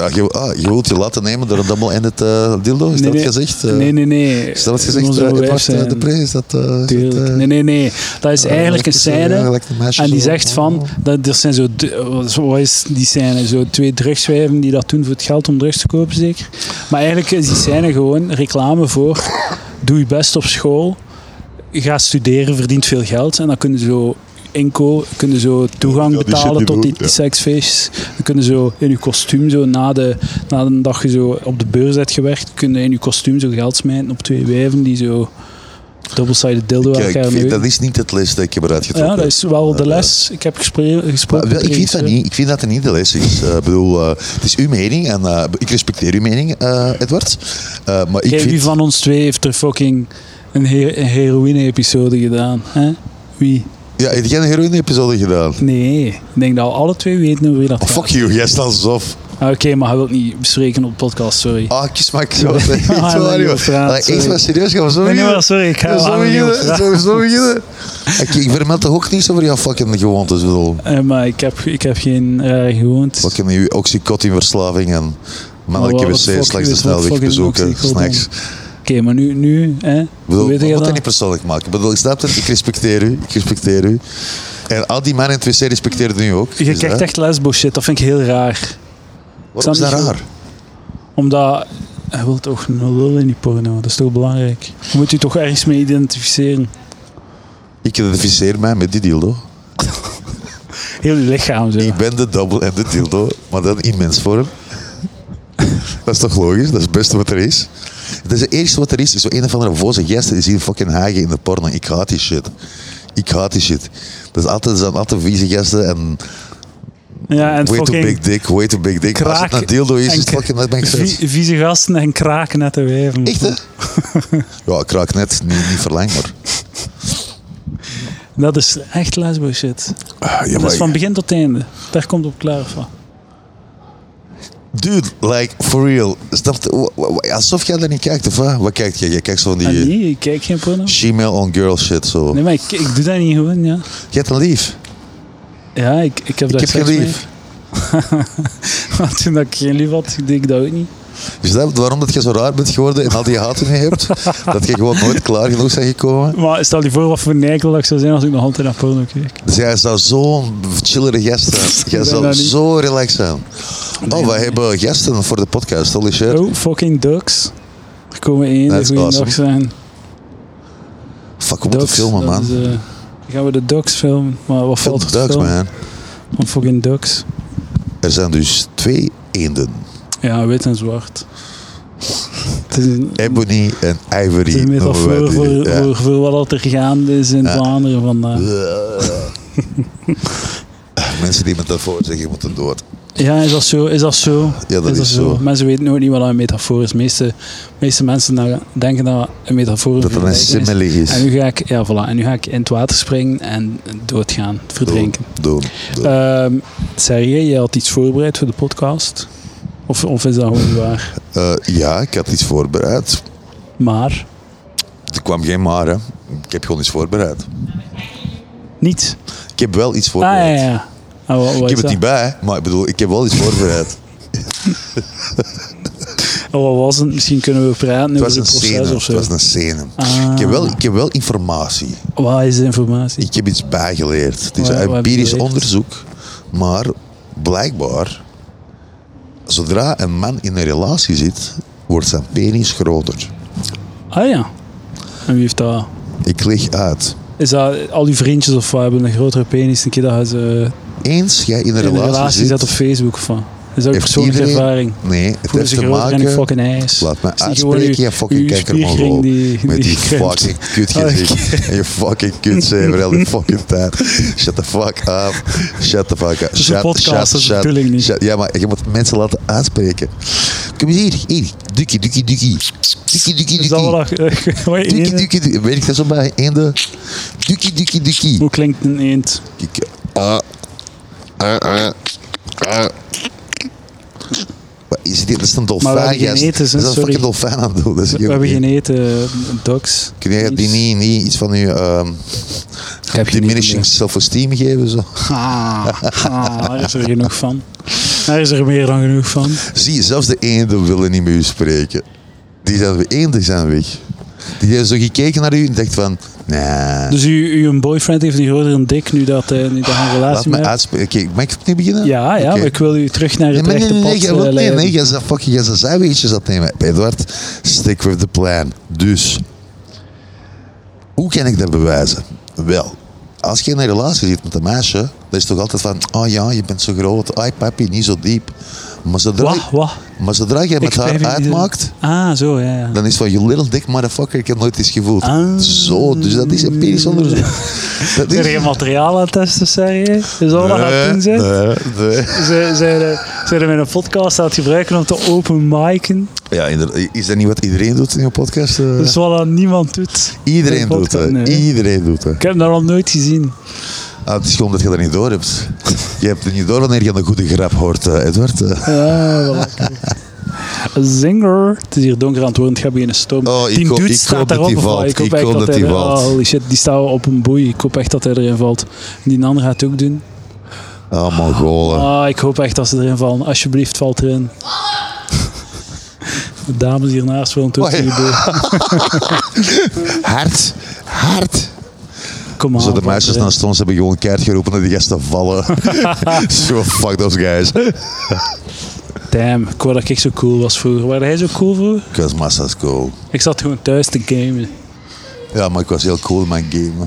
Speaker 2: Ja, je, ah, je wilt je laten nemen door een dubbel in het eh, dildo? Is
Speaker 1: Nee,
Speaker 2: dat
Speaker 1: nee.
Speaker 2: gezegd? Eh,
Speaker 1: nee, nee, nee.
Speaker 2: Is dat het
Speaker 1: Ik
Speaker 2: gezegd?
Speaker 1: wil
Speaker 2: eh,
Speaker 1: zo'n wijf
Speaker 2: Edward, eh,
Speaker 1: zijn.
Speaker 2: de Pre? Is dat... eh, is dat,
Speaker 1: Tuurlijk.
Speaker 2: eh,
Speaker 1: Nee, nee, nee. Dat is
Speaker 2: eh,
Speaker 1: eigenlijk een
Speaker 2: is, eh,
Speaker 1: scène.
Speaker 2: gelijk de meisjes
Speaker 1: En die
Speaker 2: zo-
Speaker 1: zegt van, dat er zijn zo, d- wat is die scène? Zo twee drugswijven die dat doen voor het geld om drugs te kopen zeker. Maar eigenlijk is die scène gewoon reclame voor, doe je best op school, ga studeren, verdient veel geld. En dan kunnen ze zo inko, kunnen zo toegang
Speaker 2: Ja, die shit
Speaker 1: betalen
Speaker 2: die
Speaker 1: tot die
Speaker 2: bedoel- ja.
Speaker 1: seksfeestjes. Dan kunnen zo in je kostuum, zo na de, na de dag je zo op de beurs hebt gewerkt, kunnen in je kostuum zo geld smijten op twee wijven die zo double-sided dildo aan
Speaker 2: Kijk, ik
Speaker 1: elkaar
Speaker 2: vind,
Speaker 1: neuken.
Speaker 2: dat is niet het les dat ik heb eruit getrokken.
Speaker 1: Ja, dat is wel de
Speaker 2: Eh,
Speaker 1: les. Ik heb gespre-
Speaker 2: Maar
Speaker 1: gesproken.
Speaker 2: wel, ik
Speaker 1: met
Speaker 2: vind dat
Speaker 1: regisseur.
Speaker 2: niet. Ik vind dat het niet de les is. Eh, Ik bedoel, eh, het is uw mening en eh, ik respecteer uw mening, eh, Edward. Eh, maar ik
Speaker 1: Kijk,
Speaker 2: vind...
Speaker 1: wie van ons twee heeft er fucking een, he- een heroïne-episode gedaan? Hè? Wie?
Speaker 2: Ja, heb jij een heroïne-episode gedaan?
Speaker 1: Nee. Ik denk dat we alle twee weten over wie dat
Speaker 2: Oh,
Speaker 1: gaat.
Speaker 2: fuck you, jij staat alsof.
Speaker 1: Ah, Oké, maar hij wil het niet bespreken op de podcast, sorry.
Speaker 2: Ah, kies maar zo. Echt
Speaker 1: Ah, dat
Speaker 2: waar,
Speaker 1: is
Speaker 2: joh.
Speaker 1: niet waar,
Speaker 2: Ah, Echt
Speaker 1: sorry.
Speaker 2: maar serieus, gaan we zo
Speaker 1: Nee, nee,
Speaker 2: beginnen?
Speaker 1: maar sorry, ik ga
Speaker 2: Gaan we
Speaker 1: wel
Speaker 2: zo
Speaker 1: aan
Speaker 2: beginnen?
Speaker 1: iemand vragen.
Speaker 2: Zullen we zo beginnen? Oké, Ik vermeld toch ook niets over jouw fucking gewoontes, bedoel.
Speaker 1: Eh, maar ik heb, ik heb geen rare gewoontes.
Speaker 2: Wat kennen jullie? Oxycotin-verslaving en mannelijke
Speaker 1: Oh, wat fuck
Speaker 2: wc
Speaker 1: you
Speaker 2: slechts de
Speaker 1: is wat
Speaker 2: snelweg
Speaker 1: fucking
Speaker 2: bezoeken,
Speaker 1: oxycodon.
Speaker 2: snacks.
Speaker 1: Oké, maar nu, nu hè?
Speaker 2: Ik
Speaker 1: weet je
Speaker 2: bedoel, we moeten dat
Speaker 1: dat?
Speaker 2: niet persoonlijk maken. Ik bedoel, ik snap het, ik respecteer u, ik respecteer u. En al die mannen in het wc respecteren u ook.
Speaker 1: Je
Speaker 2: dus,
Speaker 1: krijgt
Speaker 2: hè.
Speaker 1: echt lesbo shit, dat vind ik heel raar.
Speaker 2: Waarom is
Speaker 1: dat
Speaker 2: dat
Speaker 1: niet
Speaker 2: raar?
Speaker 1: Omdat hij wil toch een lul in die porno, dat is toch belangrijk? Je moet je toch ergens mee identificeren.
Speaker 2: Ik identificeer mij met die dildo.
Speaker 1: Heel je lichaam zo.
Speaker 2: Ik ben de double en de dildo, maar dan in mensvorm. Dat is toch logisch? Dat is het beste wat er is. Het is het eerste wat er is, is zo een of andere voze gast die hier fucking hagen in de porno. Ik haat die shit. Ik haat die shit. Dat is altijd, zijn altijd vieze gasten en
Speaker 1: Ja, en
Speaker 2: way too
Speaker 1: fucking
Speaker 2: big dick, way too big dick. Als het
Speaker 1: kraak
Speaker 2: een dildo is,
Speaker 1: en
Speaker 2: is het
Speaker 1: kra-
Speaker 2: fucking, dat ben ik zes.
Speaker 1: vie- vieze gasten en kraken net de wijven.
Speaker 2: Echt, hè? ja, ik raak net niet, niet verlang, maar...
Speaker 1: Dat is echt lesbo shit.
Speaker 2: ja,
Speaker 1: Dat is van begin tot einde. Daar komt op klaar van.
Speaker 2: Dude, like, for real. Snap je? Wa- wa- wa- Alsof jij daar niet kijkt, of wat? Wat kijkt jij? Jij kijkt zo van
Speaker 1: Ah,
Speaker 2: die...
Speaker 1: nee, ik kijk geen porno.
Speaker 2: Gmail on girl shit, zo.
Speaker 1: Nee, maar ik, ik doe dat niet gewoon, ja.
Speaker 2: Je hebt een lief.
Speaker 1: Ja, ik, ik heb
Speaker 2: Ik
Speaker 1: daar
Speaker 2: heb geen
Speaker 1: seks mee.
Speaker 2: lief.
Speaker 1: Maar toen dat ik geen lief had, deed ik dat ook niet.
Speaker 2: Is dat waarom dat je zo raar bent geworden en al die haat in je hebt? dat je gewoon nooit klaar genoeg bent gekomen?
Speaker 1: Maar stel je voor wat voor neikel dat ik zou zijn als ik nog altijd naar porno keek.
Speaker 2: Dus jij zou zo'n chillere gast zijn. Jij
Speaker 1: ben dat
Speaker 2: zou
Speaker 1: niet.
Speaker 2: zo relaxed zijn.
Speaker 1: Nee,
Speaker 2: Oh, wij
Speaker 1: nee.
Speaker 2: hebben gasten voor de podcast. Holy shit.
Speaker 1: Oh, fucking ducks. Er komen één,
Speaker 2: That's
Speaker 1: goede
Speaker 2: awesome.
Speaker 1: dag zijn.
Speaker 2: Fuck, we moeten
Speaker 1: Ducks,
Speaker 2: filmen,
Speaker 1: dat
Speaker 2: man.
Speaker 1: is, eh, gaan we de ducks filmen? Maar wat
Speaker 2: Film
Speaker 1: valt er te
Speaker 2: Ducks,
Speaker 1: filmen?
Speaker 2: man.
Speaker 1: Van fucking ducks.
Speaker 2: Er zijn dus twee eenden.
Speaker 1: Ja, wit en zwart. Het is een,
Speaker 2: Ebony en Ivory.
Speaker 1: het is een
Speaker 2: noemen wij
Speaker 1: metafoor
Speaker 2: die.
Speaker 1: voor,
Speaker 2: Ja.
Speaker 1: voor, voor wat er gaande is in
Speaker 2: Ja.
Speaker 1: Vlaanderen vandaag.
Speaker 2: Eh, Mensen die metafoor zeggen, moeten dood.
Speaker 1: Ja, is dat zo? Is dat zo?
Speaker 2: Ja, dat is, zo.
Speaker 1: Mensen weten nooit niet wat een metafoor is. De meeste, meeste mensen nou- denken dat een metafoor een
Speaker 2: Dat er een
Speaker 1: vergelijking is.
Speaker 2: simile is.
Speaker 1: En nu, ga ik, ja, voilà, en nu ga ik in het water springen en doodgaan,
Speaker 2: Doen,
Speaker 1: verdrinken.
Speaker 2: doen, doen.
Speaker 1: Ehm Serieer, jij had iets voorbereid voor de podcast? Of, of is dat gewoon niet waar?
Speaker 2: Eh, ja, ik had iets voorbereid.
Speaker 1: Maar,
Speaker 2: Er kwam geen maar, hè. Ik heb gewoon iets voorbereid.
Speaker 1: niet.
Speaker 2: Ik heb wel iets
Speaker 1: Ah, ja,
Speaker 2: voorbereid.
Speaker 1: ja. Ah, wat, wat
Speaker 2: Ik heb
Speaker 1: is
Speaker 2: het
Speaker 1: dat?
Speaker 2: niet bij, maar ik bedoel, ik heb wel iets voorbereid.
Speaker 1: Oh, wat was het? Misschien kunnen we praten over
Speaker 2: het was
Speaker 1: het
Speaker 2: een
Speaker 1: proces
Speaker 2: scène.
Speaker 1: of
Speaker 2: Het
Speaker 1: zo.
Speaker 2: was een scène.
Speaker 1: Ah.
Speaker 2: Ik, heb wel, ik heb wel informatie.
Speaker 1: Wat is de informatie?
Speaker 2: Ik heb iets bijgeleerd. Het is
Speaker 1: Waar- waar heb
Speaker 2: een
Speaker 1: je
Speaker 2: empirisch
Speaker 1: geleerd?
Speaker 2: onderzoek. Maar blijkbaar, zodra een man in een relatie zit, wordt zijn penis groter.
Speaker 1: Ah ja. En wie heeft dat?
Speaker 2: Ik leg uit.
Speaker 1: Is dat al die vriendjes of wat hebben een grotere penis een keer dat je ze
Speaker 2: Eens jij in een
Speaker 1: in een
Speaker 2: relatie,
Speaker 1: relatie
Speaker 2: zit,
Speaker 1: zet op Facebook of wat? Is dat een
Speaker 2: heeft
Speaker 1: persoonlijke
Speaker 2: iedereen-
Speaker 1: ervaring?
Speaker 2: Nee, het
Speaker 1: Voelen
Speaker 2: heeft
Speaker 1: ze
Speaker 2: te
Speaker 1: groter en
Speaker 2: maken...
Speaker 1: die fucking ijs?
Speaker 2: Laat me
Speaker 1: Is die gewoon uw-
Speaker 2: uitspreken, je fucking
Speaker 1: uw
Speaker 2: kijkermongol.
Speaker 1: spiergering die-
Speaker 2: Met
Speaker 1: die Ah,
Speaker 2: die
Speaker 1: krimpt?
Speaker 2: fucking kutgezicht. En je fucking kutzever al die fucking tijd. Shut the fuck up. Shut the fuck up.
Speaker 1: is
Speaker 2: Shut,
Speaker 1: een podcast,
Speaker 2: shut,
Speaker 1: dat is de
Speaker 2: shut,
Speaker 1: bedoeling niet.
Speaker 2: shut. Ja, maar je moet mensen laten aanspreken. Kom eens hier. Hier. Dukkie, dukkie, dukkie. Dukkie, dukkie,
Speaker 1: Is dat
Speaker 2: dukkie.
Speaker 1: wel dat- wat je
Speaker 2: Dukkie,
Speaker 1: eend-
Speaker 2: dukkie, dukkie. Weet ik dat zo bij eenden? Dukkie, dukkie, dukkie.
Speaker 1: Hoe klinkt een eend?
Speaker 2: Ik- Ah. Ah, ah. Ah. Wat Is dit, dat is een dolfijn.
Speaker 1: hebben geen
Speaker 2: gast.
Speaker 1: eten, hè,
Speaker 2: dat is een
Speaker 1: sorry.
Speaker 2: fucking dolfijn aan het doen. Dus Dat is
Speaker 1: We
Speaker 2: geen-
Speaker 1: hebben geen eten, eh, dogs.
Speaker 2: Kun jij die
Speaker 1: Iets.
Speaker 2: niet, niet iets van je... ehm,
Speaker 3: Ik heb geen
Speaker 2: diminishing
Speaker 3: idee.
Speaker 2: self-esteem geven. Zo.
Speaker 1: Ah, ah, daar is er genoeg van. Daar is er meer dan genoeg van.
Speaker 2: Zie, zelfs de eenden willen niet met u spreken. Die zijn, we- eenden zijn weg. Die hebben zo gekeken naar u en dacht van, nee,
Speaker 1: Dus u, uw boyfriend heeft een grotere dik nu dat hij nu dat hij een
Speaker 2: laat
Speaker 1: relatie
Speaker 2: me
Speaker 1: met
Speaker 2: uitspreken. Oké, mag ik opnieuw beginnen?
Speaker 1: Ja, ja,
Speaker 2: Oké.
Speaker 1: maar ik wil u terug naar
Speaker 2: Nee,
Speaker 1: het
Speaker 2: maar nee,
Speaker 1: rechte
Speaker 2: nee,
Speaker 1: pad
Speaker 2: nee, jij wilt-
Speaker 1: eh,
Speaker 2: nee,
Speaker 1: leiden.
Speaker 2: nee, jij zat fucking, jij zat zijweetjes dat nemen. Eduard, stick with the plan. Dus, hoe kan ik dat bewijzen? Wel, als je in een relatie zit met een meisje, dan is het toch altijd van, oh ja, je bent zo groot, ai papi, niet zo diep. Maar zodra,
Speaker 1: Wah, wah.
Speaker 2: maar zodra jij met
Speaker 1: Ik blijf
Speaker 2: haar
Speaker 1: in die-
Speaker 2: uitmaakt,
Speaker 1: Ah, zo, ja. ja.
Speaker 2: dan is van je little dick motherfucker, ik heb nooit iets gevoeld.
Speaker 1: Ah.
Speaker 2: Zo, dus dat is empirisch onderzoek. Dat
Speaker 1: Zijn Ah. er geen materiaal aan het testen, zei je? Is dat wat je aan het doen
Speaker 2: Nee,
Speaker 1: bent?
Speaker 2: nee, nee.
Speaker 1: Zijn- Zijn er- zijn er met een podcast aan het gebruiken om te open micen?
Speaker 2: Ja, inderdaad. is dat niet wat iedereen doet in je podcast? eh?
Speaker 1: Dat is Dus wat aan niemand doet.
Speaker 2: iedereen,
Speaker 1: een
Speaker 2: doet
Speaker 1: podcast,
Speaker 2: dat.
Speaker 1: nee.
Speaker 2: iedereen doet dat.
Speaker 1: Ik heb dat nog nooit gezien.
Speaker 2: Ah, het is gewoon dat je dat niet door hebt. Je hebt het niet door wanneer je een goede grap hoort, eh, Edward. eh.
Speaker 1: Ah, wel lekker. Zinger. Het is hier donker aan het worden, het gaat beginnen stomen.
Speaker 2: Oh, ik
Speaker 1: die
Speaker 2: hoop-
Speaker 1: dude
Speaker 2: ik hoop
Speaker 1: staat
Speaker 2: dat
Speaker 1: daarop.
Speaker 2: die
Speaker 1: of wat?
Speaker 2: valt.
Speaker 1: Ik hoop
Speaker 2: Ik
Speaker 1: echt
Speaker 2: hoop
Speaker 1: dat,
Speaker 2: dat
Speaker 1: hij
Speaker 2: die
Speaker 1: er- Oh,
Speaker 2: valt.
Speaker 1: Holy shit, die staat op een boei. Ik hoop echt dat hij erin valt. Die andere gaat het ook doen.
Speaker 2: Oh, Mongolen.
Speaker 1: Ah, ik hoop echt dat ze erin vallen. Alsjeblieft, valt erin. De dames hiernaast willen het ook
Speaker 2: Oh, ja.
Speaker 1: niet doen. Ah.
Speaker 2: Hard. Hard.
Speaker 1: Kom aan.
Speaker 2: Zo de
Speaker 1: valt
Speaker 2: meisjes
Speaker 1: erin.
Speaker 2: naast ons hebben gewoon keihard geroepen dat die gasten vallen. Zo, fuck those guys.
Speaker 1: Damn, ik wou dat ik zo cool was vroeger. Waar hij zo cool vroeger?
Speaker 2: Because massa's cool.
Speaker 1: Ik zat gewoon thuis te gamen.
Speaker 2: Ja, maar ik was heel cool in mijn game.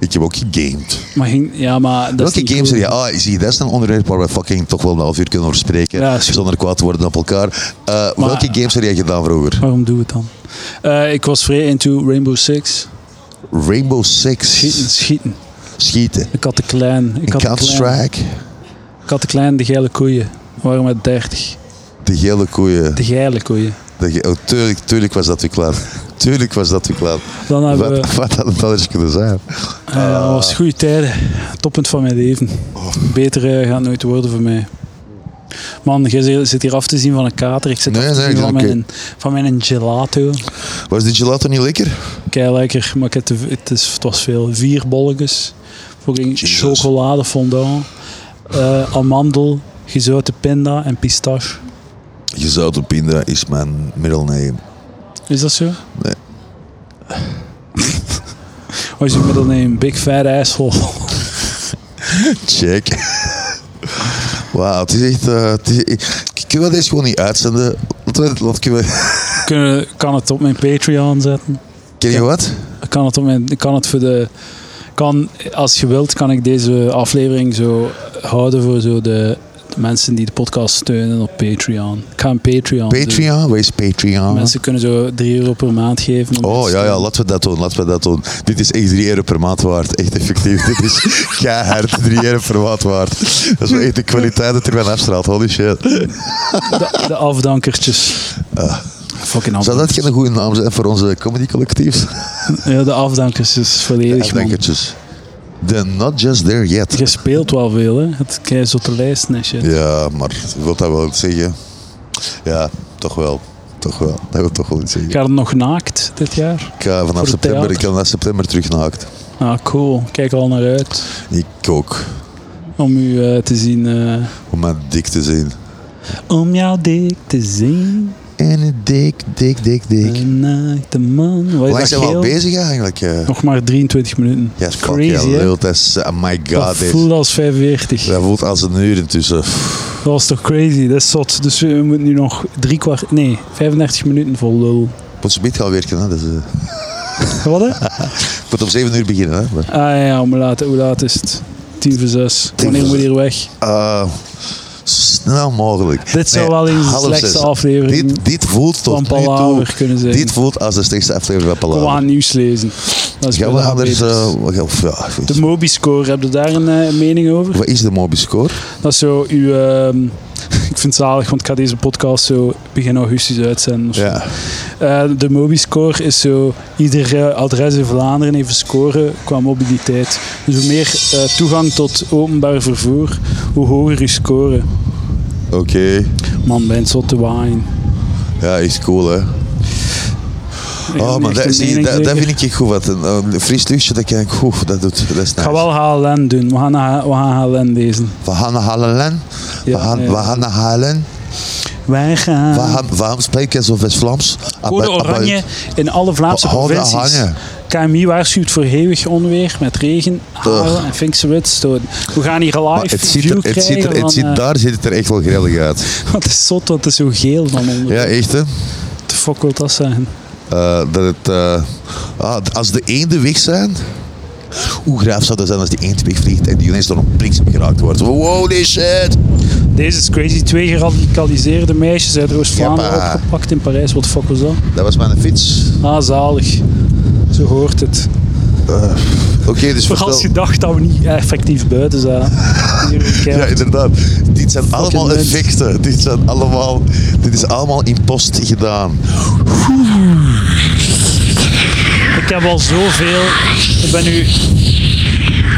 Speaker 2: Ik heb ook gegamed.
Speaker 1: Maar ging, ja, maar dat is
Speaker 2: Welke
Speaker 1: niet
Speaker 2: games
Speaker 1: cool.
Speaker 2: er je? Ah, zie, dat is een onderwerp waar we fucking toch wel een half uur kunnen over spreken.
Speaker 1: Ja, is goed.
Speaker 2: zonder kwaad te worden op elkaar. Eh, welke games heb jij gedaan vroeger?
Speaker 1: Waarom doe we het dan? Eh, ik was vrij into Rainbow Six.
Speaker 2: Rainbow Six.
Speaker 1: Schieten, schieten.
Speaker 2: Schieten.
Speaker 1: Ik had de klein. Ik had
Speaker 2: En
Speaker 1: de klein,
Speaker 2: Counter-Strike.
Speaker 1: ik had de klein, de geile koeien. We waren met 30.
Speaker 2: De gele koeien.
Speaker 1: De geile koeien.
Speaker 2: De ge- oh, tuurlijk, tuurlijk was dat weer klaar. Tuurlijk was dat weer klaar.
Speaker 1: Dan hebben we...
Speaker 2: Wat, wat had het anders kunnen zijn?
Speaker 1: Ja, dat was goede tijden. Toppunt van mijn leven.
Speaker 2: Oh.
Speaker 1: Beter eh, gaat het nooit worden voor mij. Man, jij zi- zit hier af te zien van een kater. Ik zit
Speaker 2: Nee,
Speaker 1: af te
Speaker 2: nee,
Speaker 1: zien
Speaker 2: ik-
Speaker 1: van,
Speaker 2: oké.
Speaker 1: mijn, van mijn gelato.
Speaker 2: Was die gelato niet lekker?
Speaker 1: Kei lekker, maar ik heb te- het, is, het was veel. Vier bolletjes. Fucking
Speaker 2: Jesus.
Speaker 1: chocolade fondant. eh, amandel, gezouten pinda en pistache.
Speaker 2: Gezouten pinda is mijn middle name.
Speaker 1: Is dat zo?
Speaker 2: Nee.
Speaker 1: Wat is je middelneem? Big fat asshole.
Speaker 2: Check. Wauw, het is echt... eh, het is, ik- kunnen we deze gewoon niet uitzenden? Laten we- laten we-
Speaker 1: Kunnen, kan het op mijn Patreon zetten?
Speaker 2: Ken je wat?
Speaker 1: Ik kan het, op mijn, ik kan het voor de. Kan, als je wilt, kan ik deze aflevering zo houden voor zo de, de mensen die de podcast steunen op Patreon. Ik ga een Patreon. doen.
Speaker 2: Patreon? Wees Patreon.
Speaker 1: Mensen kunnen zo 3 euro per maand geven. om
Speaker 2: Oh
Speaker 1: te
Speaker 2: ja, ja,
Speaker 1: steunen.
Speaker 2: laten we dat doen, laten we dat doen. Dit is echt 3 euro per maand waard, echt effectief. Dit is keihard 3 euro per maand waard. Dat is wel echt de kwaliteit dat er van afstraalt, holy shit.
Speaker 1: De, de afdankertjes.
Speaker 2: Ah.
Speaker 1: Fucking
Speaker 2: Zou dat
Speaker 1: afdankers.
Speaker 2: geen goede naam zijn voor onze comedy collectief?
Speaker 1: Ja, de afdankers is volledig. man.
Speaker 2: Dankertjes. The Not Just There Yet.
Speaker 1: Je speelt wel veel, hè? Het krijg je op de lijst en shit.
Speaker 2: Ja, maar wil dat wel iets zeggen? Ja, toch wel. Toch wel, dat wil toch wel iets zeggen.
Speaker 1: Ga je nog naakt dit jaar?
Speaker 2: Ik ga vanaf
Speaker 1: het
Speaker 2: september, ik
Speaker 1: theater.
Speaker 2: ga vanaf september terug naakt.
Speaker 1: Ah, cool. Kijk er al naar uit
Speaker 2: Ik ook,
Speaker 1: om u eh, te zien. eh,
Speaker 2: om mijn dik te zien.
Speaker 1: om jou dik te zien.
Speaker 2: En een dik, dik, dik, dik.
Speaker 1: Een naakte man. Wat
Speaker 2: Hoe
Speaker 1: is
Speaker 2: lang
Speaker 1: Eh, dat
Speaker 2: zijn we al
Speaker 1: geel?
Speaker 2: bezig eigenlijk? eh?
Speaker 1: Nog maar 23 minuten.
Speaker 2: Ja, fuck, ja,
Speaker 1: Crazy, hè?
Speaker 2: lul, dat is, uh, my
Speaker 1: Dat
Speaker 2: god. dit-
Speaker 1: voelt als 45.
Speaker 2: Dat voelt als een uur intussen.
Speaker 1: Dat was toch crazy? Dat is zot. Dus we moeten nu nog drie kwart... Nee, 35 minuten vol lul.
Speaker 2: Moet ze niet gaan werken, hè. Dus, eh,
Speaker 1: Wat, hè? Ah
Speaker 2: ik moet om zeven uur beginnen, hè. Maar,
Speaker 1: ja, hoe laat, hoe laat is het? 10 voor 6.
Speaker 2: Tien
Speaker 1: Wanneer
Speaker 2: voor
Speaker 1: moet hier weg?
Speaker 2: eh, zo snel mogelijk.
Speaker 1: Dit zou
Speaker 2: Nee,
Speaker 1: wel eens de
Speaker 2: half
Speaker 1: slechtste
Speaker 2: zes.
Speaker 1: aflevering
Speaker 2: Dit, dit voelt tot
Speaker 1: van
Speaker 2: nu toe...
Speaker 1: Palaver kunnen zijn.
Speaker 2: Dit voelt als de slechtste aflevering van
Speaker 1: Kom aan
Speaker 2: Palaver.
Speaker 1: nieuws lezen. Dat is
Speaker 2: Gaan we
Speaker 1: bijna
Speaker 2: anders...
Speaker 1: beter.
Speaker 2: eh, we gaan- of ja, ik weet-
Speaker 1: De Mobi-score, heb je daar een eh, mening over?
Speaker 2: wat is de Mobi-score?
Speaker 1: Dat is zo uw... ehm, ik vind het zalig, want ik ga deze podcast zo begin augustus uitzenden. of zo.
Speaker 2: Ja.
Speaker 1: Eh, de Mobiscore is zo... Ieder eh, adres in Vlaanderen heeft een score qua mobiliteit. Dus hoe meer eh, toegang tot openbaar vervoer, hoe hoger je score.
Speaker 2: Oké.
Speaker 1: Man, ben je zot te wijn.
Speaker 2: Ja, is cool, hè. Oh,
Speaker 1: niet
Speaker 2: maar
Speaker 1: echt
Speaker 2: dat,
Speaker 1: een
Speaker 2: zie je,
Speaker 1: mening
Speaker 2: dat, dat
Speaker 1: zeker.
Speaker 2: vind ik goed. Wat een, een Fries luchtje, dat kijk ik goed. Dat, doet, dat is
Speaker 1: Ik
Speaker 2: nice.
Speaker 1: ga wel HLN doen. We gaan, naar- we gaan HLN lezen.
Speaker 2: We gaan naar Halen. We
Speaker 1: Ja,
Speaker 2: gaan,
Speaker 1: ja.
Speaker 2: we gaan naar Halen.
Speaker 1: Wij gaan...
Speaker 2: We gaan, waarom spreek je zo West-Vlaams? Ah,
Speaker 1: Code
Speaker 2: Abba- abba-
Speaker 1: oranje in alle Vlaamse
Speaker 2: Hou dat
Speaker 1: provincies.
Speaker 2: hangen.
Speaker 1: KMI waarschuwt voor hevig onweer met regen, hagel en Finkse witstoten. We gaan hier
Speaker 2: Maar
Speaker 1: live
Speaker 2: het ziet er,
Speaker 1: view
Speaker 2: het ziet er,
Speaker 1: krijgen
Speaker 2: het
Speaker 1: van,
Speaker 2: ziet,
Speaker 1: eh,
Speaker 2: daar ziet het er echt wel grillig uit.
Speaker 1: Wat is zot, want het is zo geel van onder.
Speaker 2: Ja, echt hè.
Speaker 1: What the fuck wil dat zeggen?
Speaker 2: Eh, dat het, eh, ah, als de eenden weg zijn... Hoe graaf zou dat zijn als die eend wegvliegt en die ineens door een bliksem geraakt wordt? Holy shit!
Speaker 1: Deze is crazy. Twee geradicaliseerde meisjes uit Oost-Vlaanderen
Speaker 2: Jappa.
Speaker 1: opgepakt in Parijs. Wat fuck was dat?
Speaker 2: Dat was mijn fiets.
Speaker 1: Ah, zalig. Zo hoort het.
Speaker 2: Oké, dus
Speaker 1: Vooral als
Speaker 2: vertel...
Speaker 1: je dacht dat we niet effectief buiten zijn. Hier ook
Speaker 2: Ja,
Speaker 1: keihard.
Speaker 2: inderdaad. Dit zijn allemaal
Speaker 1: mens.
Speaker 2: effecten. Dit, zijn allemaal, dit is allemaal in post gedaan.
Speaker 1: Ik heb al zoveel. Ik ben nu.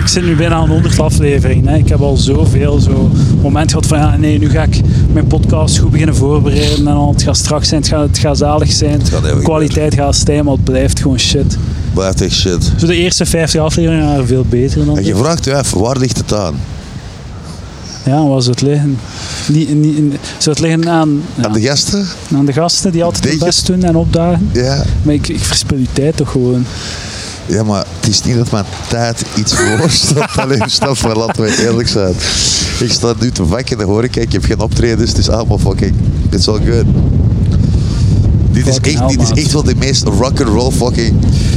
Speaker 1: Ik zit nu bijna aan 100 afleveringen. Hè. Ik heb al zoveel zo moment gehad van ja, nee, nu ga ik mijn podcast goed beginnen voorbereiden en al. Het gaat strak zijn, het gaat, het gaat zalig zijn.
Speaker 2: gaat
Speaker 1: de
Speaker 2: even
Speaker 1: kwaliteit gaat stijgen, maar het blijft gewoon shit.
Speaker 2: Blijft echt shit.
Speaker 1: Zo de eerste 50 afleveringen waren veel beter dan.
Speaker 2: En
Speaker 1: dit.
Speaker 2: je vraagt je af, waar ligt het aan?
Speaker 1: Ja, waar zou het liggen? Niet, niet, zou het liggen aan, ja,
Speaker 2: Aan de gasten?
Speaker 1: aan de gasten die altijd
Speaker 2: Denk
Speaker 1: hun
Speaker 2: je?
Speaker 1: best doen en opdagen?
Speaker 2: Ja.
Speaker 1: Maar ik, ik verspil je tijd toch gewoon.
Speaker 2: Ja, maar het is niet dat mijn tijd iets voorstelt. Alleen snap maar, laten we eerlijk zijn. Ik sta nu te vakken te horen, kijk, je hebt geen optredens, het is allemaal fucking, it's all good. Dit is,
Speaker 1: Fucking
Speaker 2: echt,
Speaker 1: hell,
Speaker 2: dit
Speaker 1: maat.
Speaker 2: is echt wel de meest rock'n'roll fucking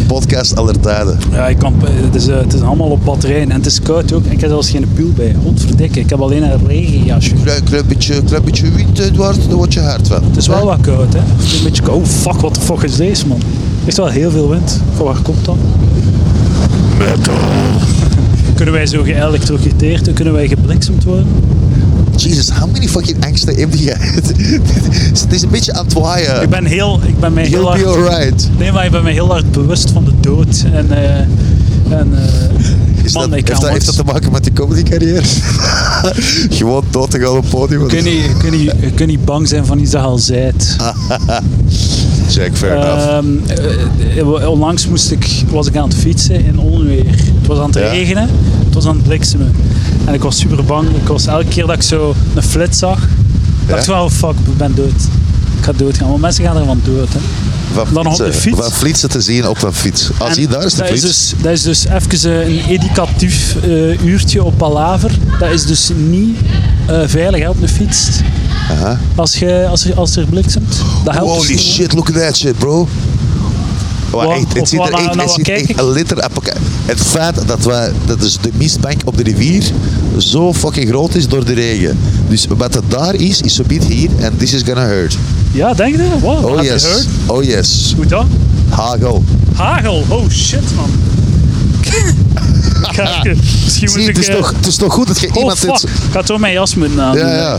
Speaker 2: podcast aller tijden.
Speaker 1: Ja, ik kan, het, is, eh, het is allemaal op batterij en het is koud ook. En ik heb zelfs geen pull bij. Godverdikke, ik heb alleen een regenjasje.
Speaker 2: Klein, klein, beetje, klein beetje wiet, Eduard, daar word je hard van.
Speaker 1: Het is wel wat koud, hè? Het is een beetje koud. Oh fuck, wat de fuck is deze, man? Er is wel heel veel wind. Van waar komt dat? Kunnen wij zo geëlektrocuteerd en kunnen wij gebliksemd worden?
Speaker 2: Jesus, how many fucking angsten heb je? Het is een beetje aan het waaien.
Speaker 1: Ik ben, heel, ik ben mij heel
Speaker 2: You'll
Speaker 1: hard...
Speaker 2: be alright.
Speaker 1: Nee, maar ik ben me heel hard bewust van de dood. En, eh, en eh,
Speaker 2: Is
Speaker 1: man,
Speaker 2: dat,
Speaker 1: ik
Speaker 2: heeft,
Speaker 1: kan
Speaker 2: dat, heeft dat te maken met die comedycarrière? Gewoon dood te gaan op het podium.
Speaker 1: kun je, niet- kun, je, je kunt niet bang zijn van iets dat je al zijt.
Speaker 2: Jack, fair enough.
Speaker 1: Ehm, eh, eh, onlangs moest ik, was ik aan het fietsen in onweer. Het was aan het
Speaker 2: Ja.
Speaker 1: regenen, het was aan het bliksemen. En ik was super bang. Ik was elke keer dat ik zo een flits zag, dacht ik
Speaker 2: Ja?
Speaker 1: wel, oh fuck, ik ben dood. Ik ga doodgaan. Want mensen gaan ervan dood. Hè.
Speaker 2: Van
Speaker 1: dan op de
Speaker 2: fietsen-
Speaker 1: fiets.
Speaker 2: Van flitsen te zien op een fiets. Ah,
Speaker 1: En
Speaker 2: zie, daar is de
Speaker 1: dat
Speaker 2: fiets.
Speaker 1: Is dus, dat is dus even eh, een educatief eh, uurtje op Palaver. Dat is dus niet eh, veilig hè, op de fiets.
Speaker 2: Aha.
Speaker 1: Als, je, als, je, als er bliksemt. Dat helpt dus
Speaker 2: Holy
Speaker 1: niet.
Speaker 2: shit, look at that shit, bro. Wow,
Speaker 1: Wat?
Speaker 2: echt,
Speaker 1: Of
Speaker 2: het ziet
Speaker 1: wat,
Speaker 2: er
Speaker 1: nou-
Speaker 2: echt,
Speaker 1: nou,
Speaker 2: het
Speaker 1: wat
Speaker 2: ziet
Speaker 1: kijk
Speaker 2: echt
Speaker 1: ik?
Speaker 2: een litter apocalypse. Het feit dat, wij, dat dus de mistbank op de rivier zo fucking groot is door de regen. Dus wat het daar is, is zo bit hier en this is gonna hurt.
Speaker 1: Ja, denk je? Wow,
Speaker 2: Oh
Speaker 1: heb je
Speaker 2: yes,
Speaker 1: gehoord?
Speaker 2: oh yes.
Speaker 1: Hoe dan?
Speaker 2: Hagel.
Speaker 1: Hagel, oh shit man. Ik ga even- Misschien moet
Speaker 2: Zie,
Speaker 1: ik...
Speaker 2: het is,
Speaker 1: eh,
Speaker 2: toch, het is toch goed dat je
Speaker 1: Oh
Speaker 2: iemand...
Speaker 1: fuck,
Speaker 2: dit-
Speaker 1: ik had toch mijn jas moeten aan.
Speaker 2: Ja, ja.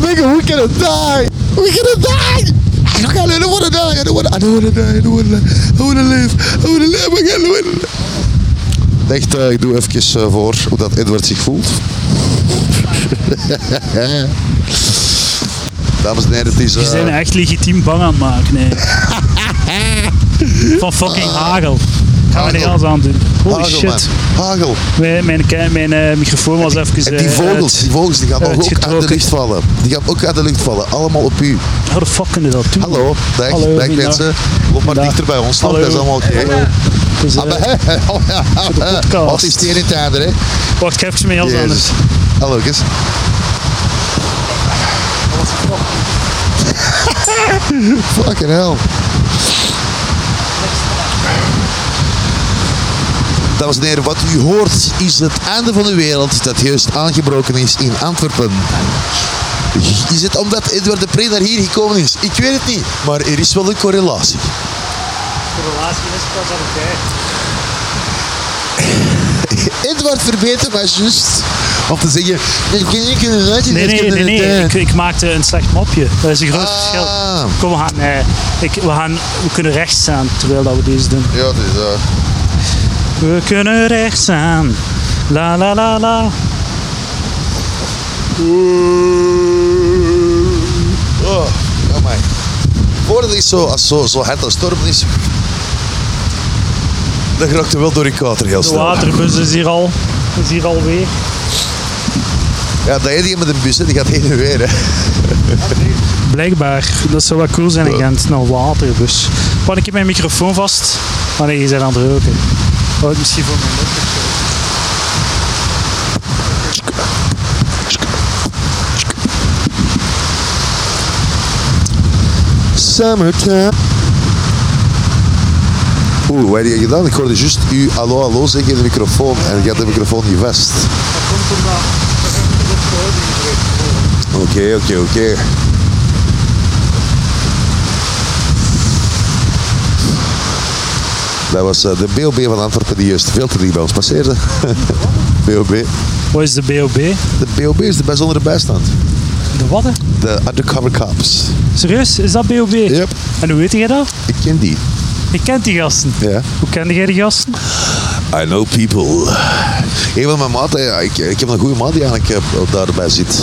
Speaker 2: Nigga, we gonna die! We gonna die! I don't, I don't wanna die! I don't wanna, I don't wanna Ah, die! I don't wanna, I wanna live! I wanna live! I don't wanna live! Echt, eh, ik doe even eh, voor hoe dat Edward zich voelt. Dames en heren, het is... eh,
Speaker 1: Die zijn echt legitiem bang aan het maken, nee. Van fucking hagel. Gaan we
Speaker 2: Hagel.
Speaker 1: niks anders aan doen. Holy
Speaker 2: hagel,
Speaker 1: shit.
Speaker 2: man. Hagel.
Speaker 1: Mijn, mijn, ke- mijn eh, microfoon was even...
Speaker 2: En die
Speaker 1: eh,
Speaker 2: vogels,
Speaker 1: uit.
Speaker 2: die vogels, die gaan ook uit de
Speaker 1: uitgetrokken.
Speaker 2: lucht vallen. Die gaan ook uit de lucht vallen. Allemaal op u.
Speaker 1: How the fuck kunnen dat doen?
Speaker 2: Hallo, dag,
Speaker 1: Hallo,
Speaker 2: dag
Speaker 1: goeiedag.
Speaker 2: mensen. Loop maar
Speaker 1: Dag.
Speaker 2: dichter bij ons, toch?
Speaker 1: Hallo.
Speaker 2: dat is allemaal oké.
Speaker 1: Hallo. Het is, eh,
Speaker 2: Ah, maar, hè, hè, oh, ja, hè.
Speaker 1: podcast.
Speaker 2: Wat is het hier in het einde, hè?
Speaker 1: wacht, ik heb even mijn jas aan.
Speaker 2: Jezus.
Speaker 1: dus.
Speaker 2: Hallo, Lucas. Fucking hell. Dames en heren, wat u hoort is het einde van de wereld dat juist aangebroken is in Antwerpen. Is het omdat Edward de Pre naar hier gekomen is? Ik weet het niet, maar er is wel een correlatie. Edward verbetert mij juist om te zeggen...
Speaker 1: Nee, nee, nee, nee. Ik, ik maakte een slecht mopje. Dat is een groot
Speaker 2: Ah.
Speaker 1: verschil. Kom, we gaan, eh, ik, we gaan... We kunnen rechts staan terwijl dat we deze doen.
Speaker 2: Ja, dat is eh, waar.
Speaker 1: We kunnen rechts aan. La la la la.
Speaker 2: Oh, amai. voordeel is zo, als zo, zo hard als storm is, dan raakt je wel door je kater heel
Speaker 1: De
Speaker 2: snel.
Speaker 1: waterbus is hier al. Is hier alweer.
Speaker 2: Ja, dat je die met een bus, hè, die gaat heen en weer. Hè.
Speaker 1: Blijkbaar. Dat zou wel cool zijn in Gent. Een waterbus. Pak ik heb mijn microfoon vast. Oh nee, je bent aan het roken. Oh, misschien voor mijn laptop.
Speaker 2: Summertime. Oeh, wat heb je gedaan? Ik hoorde juist u hallo hallo zeggen in de microfoon en je had de microfoon niet vast.
Speaker 1: Dat komt omdat...
Speaker 2: Oké, oké, oké. Dat was eh, de BOB van Antwerpen die juist veel te dicht bij ons passeerde. BOB.
Speaker 1: Wat is de BOB?
Speaker 2: De BOB is de bijzondere bijstand.
Speaker 1: De Wadden?
Speaker 2: De undercover cops.
Speaker 1: Serieus? Is dat BOB?
Speaker 2: Yep,
Speaker 1: En hoe weet jij dat?
Speaker 2: ik ken die.
Speaker 1: Je kent die gasten.
Speaker 2: Ja.
Speaker 1: Hoe kende jij die gasten?
Speaker 2: I know people. Een van mijn maten, ja, ik, ik heb een goede maat die eigenlijk eh, daarbij zit.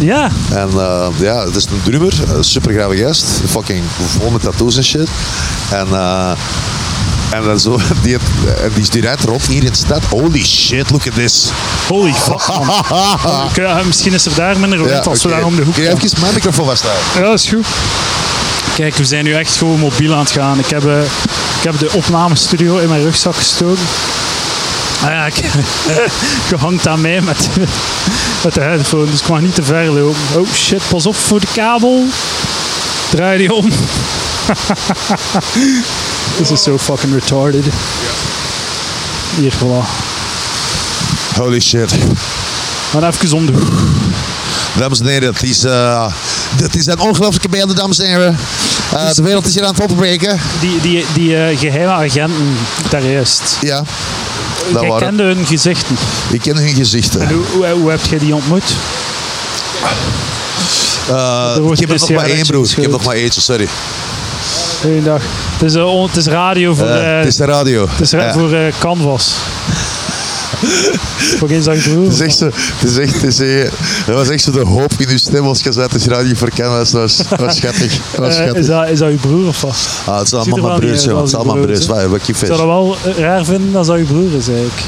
Speaker 1: Ja.
Speaker 2: En eh, ja, het is een drummer, een super gave gast, fucking vol met tattoos en shit. En, eh, en dan zo, die, en die, die rijdt rond hier in de stad. Holy shit, look at this.
Speaker 1: Holy fuck, man. Ik, eh, misschien is er daar minder rond als we
Speaker 2: oké.
Speaker 1: daar om de hoek
Speaker 2: Kun je even mijn microfoon vasthouden?
Speaker 1: Ja, dat is goed. Kijk, we zijn nu echt gewoon mobiel aan het gaan. Ik heb, eh, ik heb de opnamestudio in mijn rugzak gestoken. Ah ja, ik, je hangt aan mij met, met de headphone, dus ik mag niet te ver lopen. Oh shit, pas op voor de kabel. Draai die om. This is so fucking retarded. Hier, voilà.
Speaker 2: Holy shit.
Speaker 1: Maar even om de hoek.
Speaker 2: Dames en heren, het is, eh, dat is een ongelooflijke beelden, dames en heren. Eh,
Speaker 1: Dus
Speaker 2: de wereld is hier aan het opbreken.
Speaker 1: Die, die, die eh, geheime agenten daar juist.
Speaker 2: Ja, dat
Speaker 1: Jij
Speaker 2: waren.
Speaker 1: kende hun gezichten.
Speaker 2: Ik ken hun gezichten.
Speaker 1: En hoe, hoe, hoe heb jij die ontmoet?
Speaker 2: Eh,
Speaker 1: wordt
Speaker 2: ik
Speaker 1: dus
Speaker 2: heb er nog
Speaker 1: ja,
Speaker 2: maar één,
Speaker 1: eentje
Speaker 2: broer. Ik heb
Speaker 1: geschuld.
Speaker 2: nog maar eentje, sorry.
Speaker 1: Goeiedag. Het is, eh, on- het is radio voor,
Speaker 2: Eh,
Speaker 1: eh,
Speaker 2: het is de radio.
Speaker 1: het is ra-
Speaker 2: Ja.
Speaker 1: voor eh, Canvas. Voor geen zang broer.
Speaker 2: Het is echt zo, het is echt, het is, eh, dat was echt zo de hoop in uw stem als je zei, het is radio voor Canvas, dat was, dat was schattig. Dat was
Speaker 1: Eh, is,
Speaker 2: schattig.
Speaker 1: dat, is dat je broer of wat?
Speaker 2: Ah, het is
Speaker 1: ziet er
Speaker 2: allemaal
Speaker 1: wel
Speaker 2: mijn
Speaker 1: niet
Speaker 2: broers,
Speaker 1: uit
Speaker 2: hè, want
Speaker 1: als uw
Speaker 2: het is allemaal mijn broers.
Speaker 1: broers,
Speaker 2: Wat, wat
Speaker 1: Ik zou dat wel
Speaker 2: kiffers.
Speaker 1: eh, raar vinden als dat je broer is eigenlijk.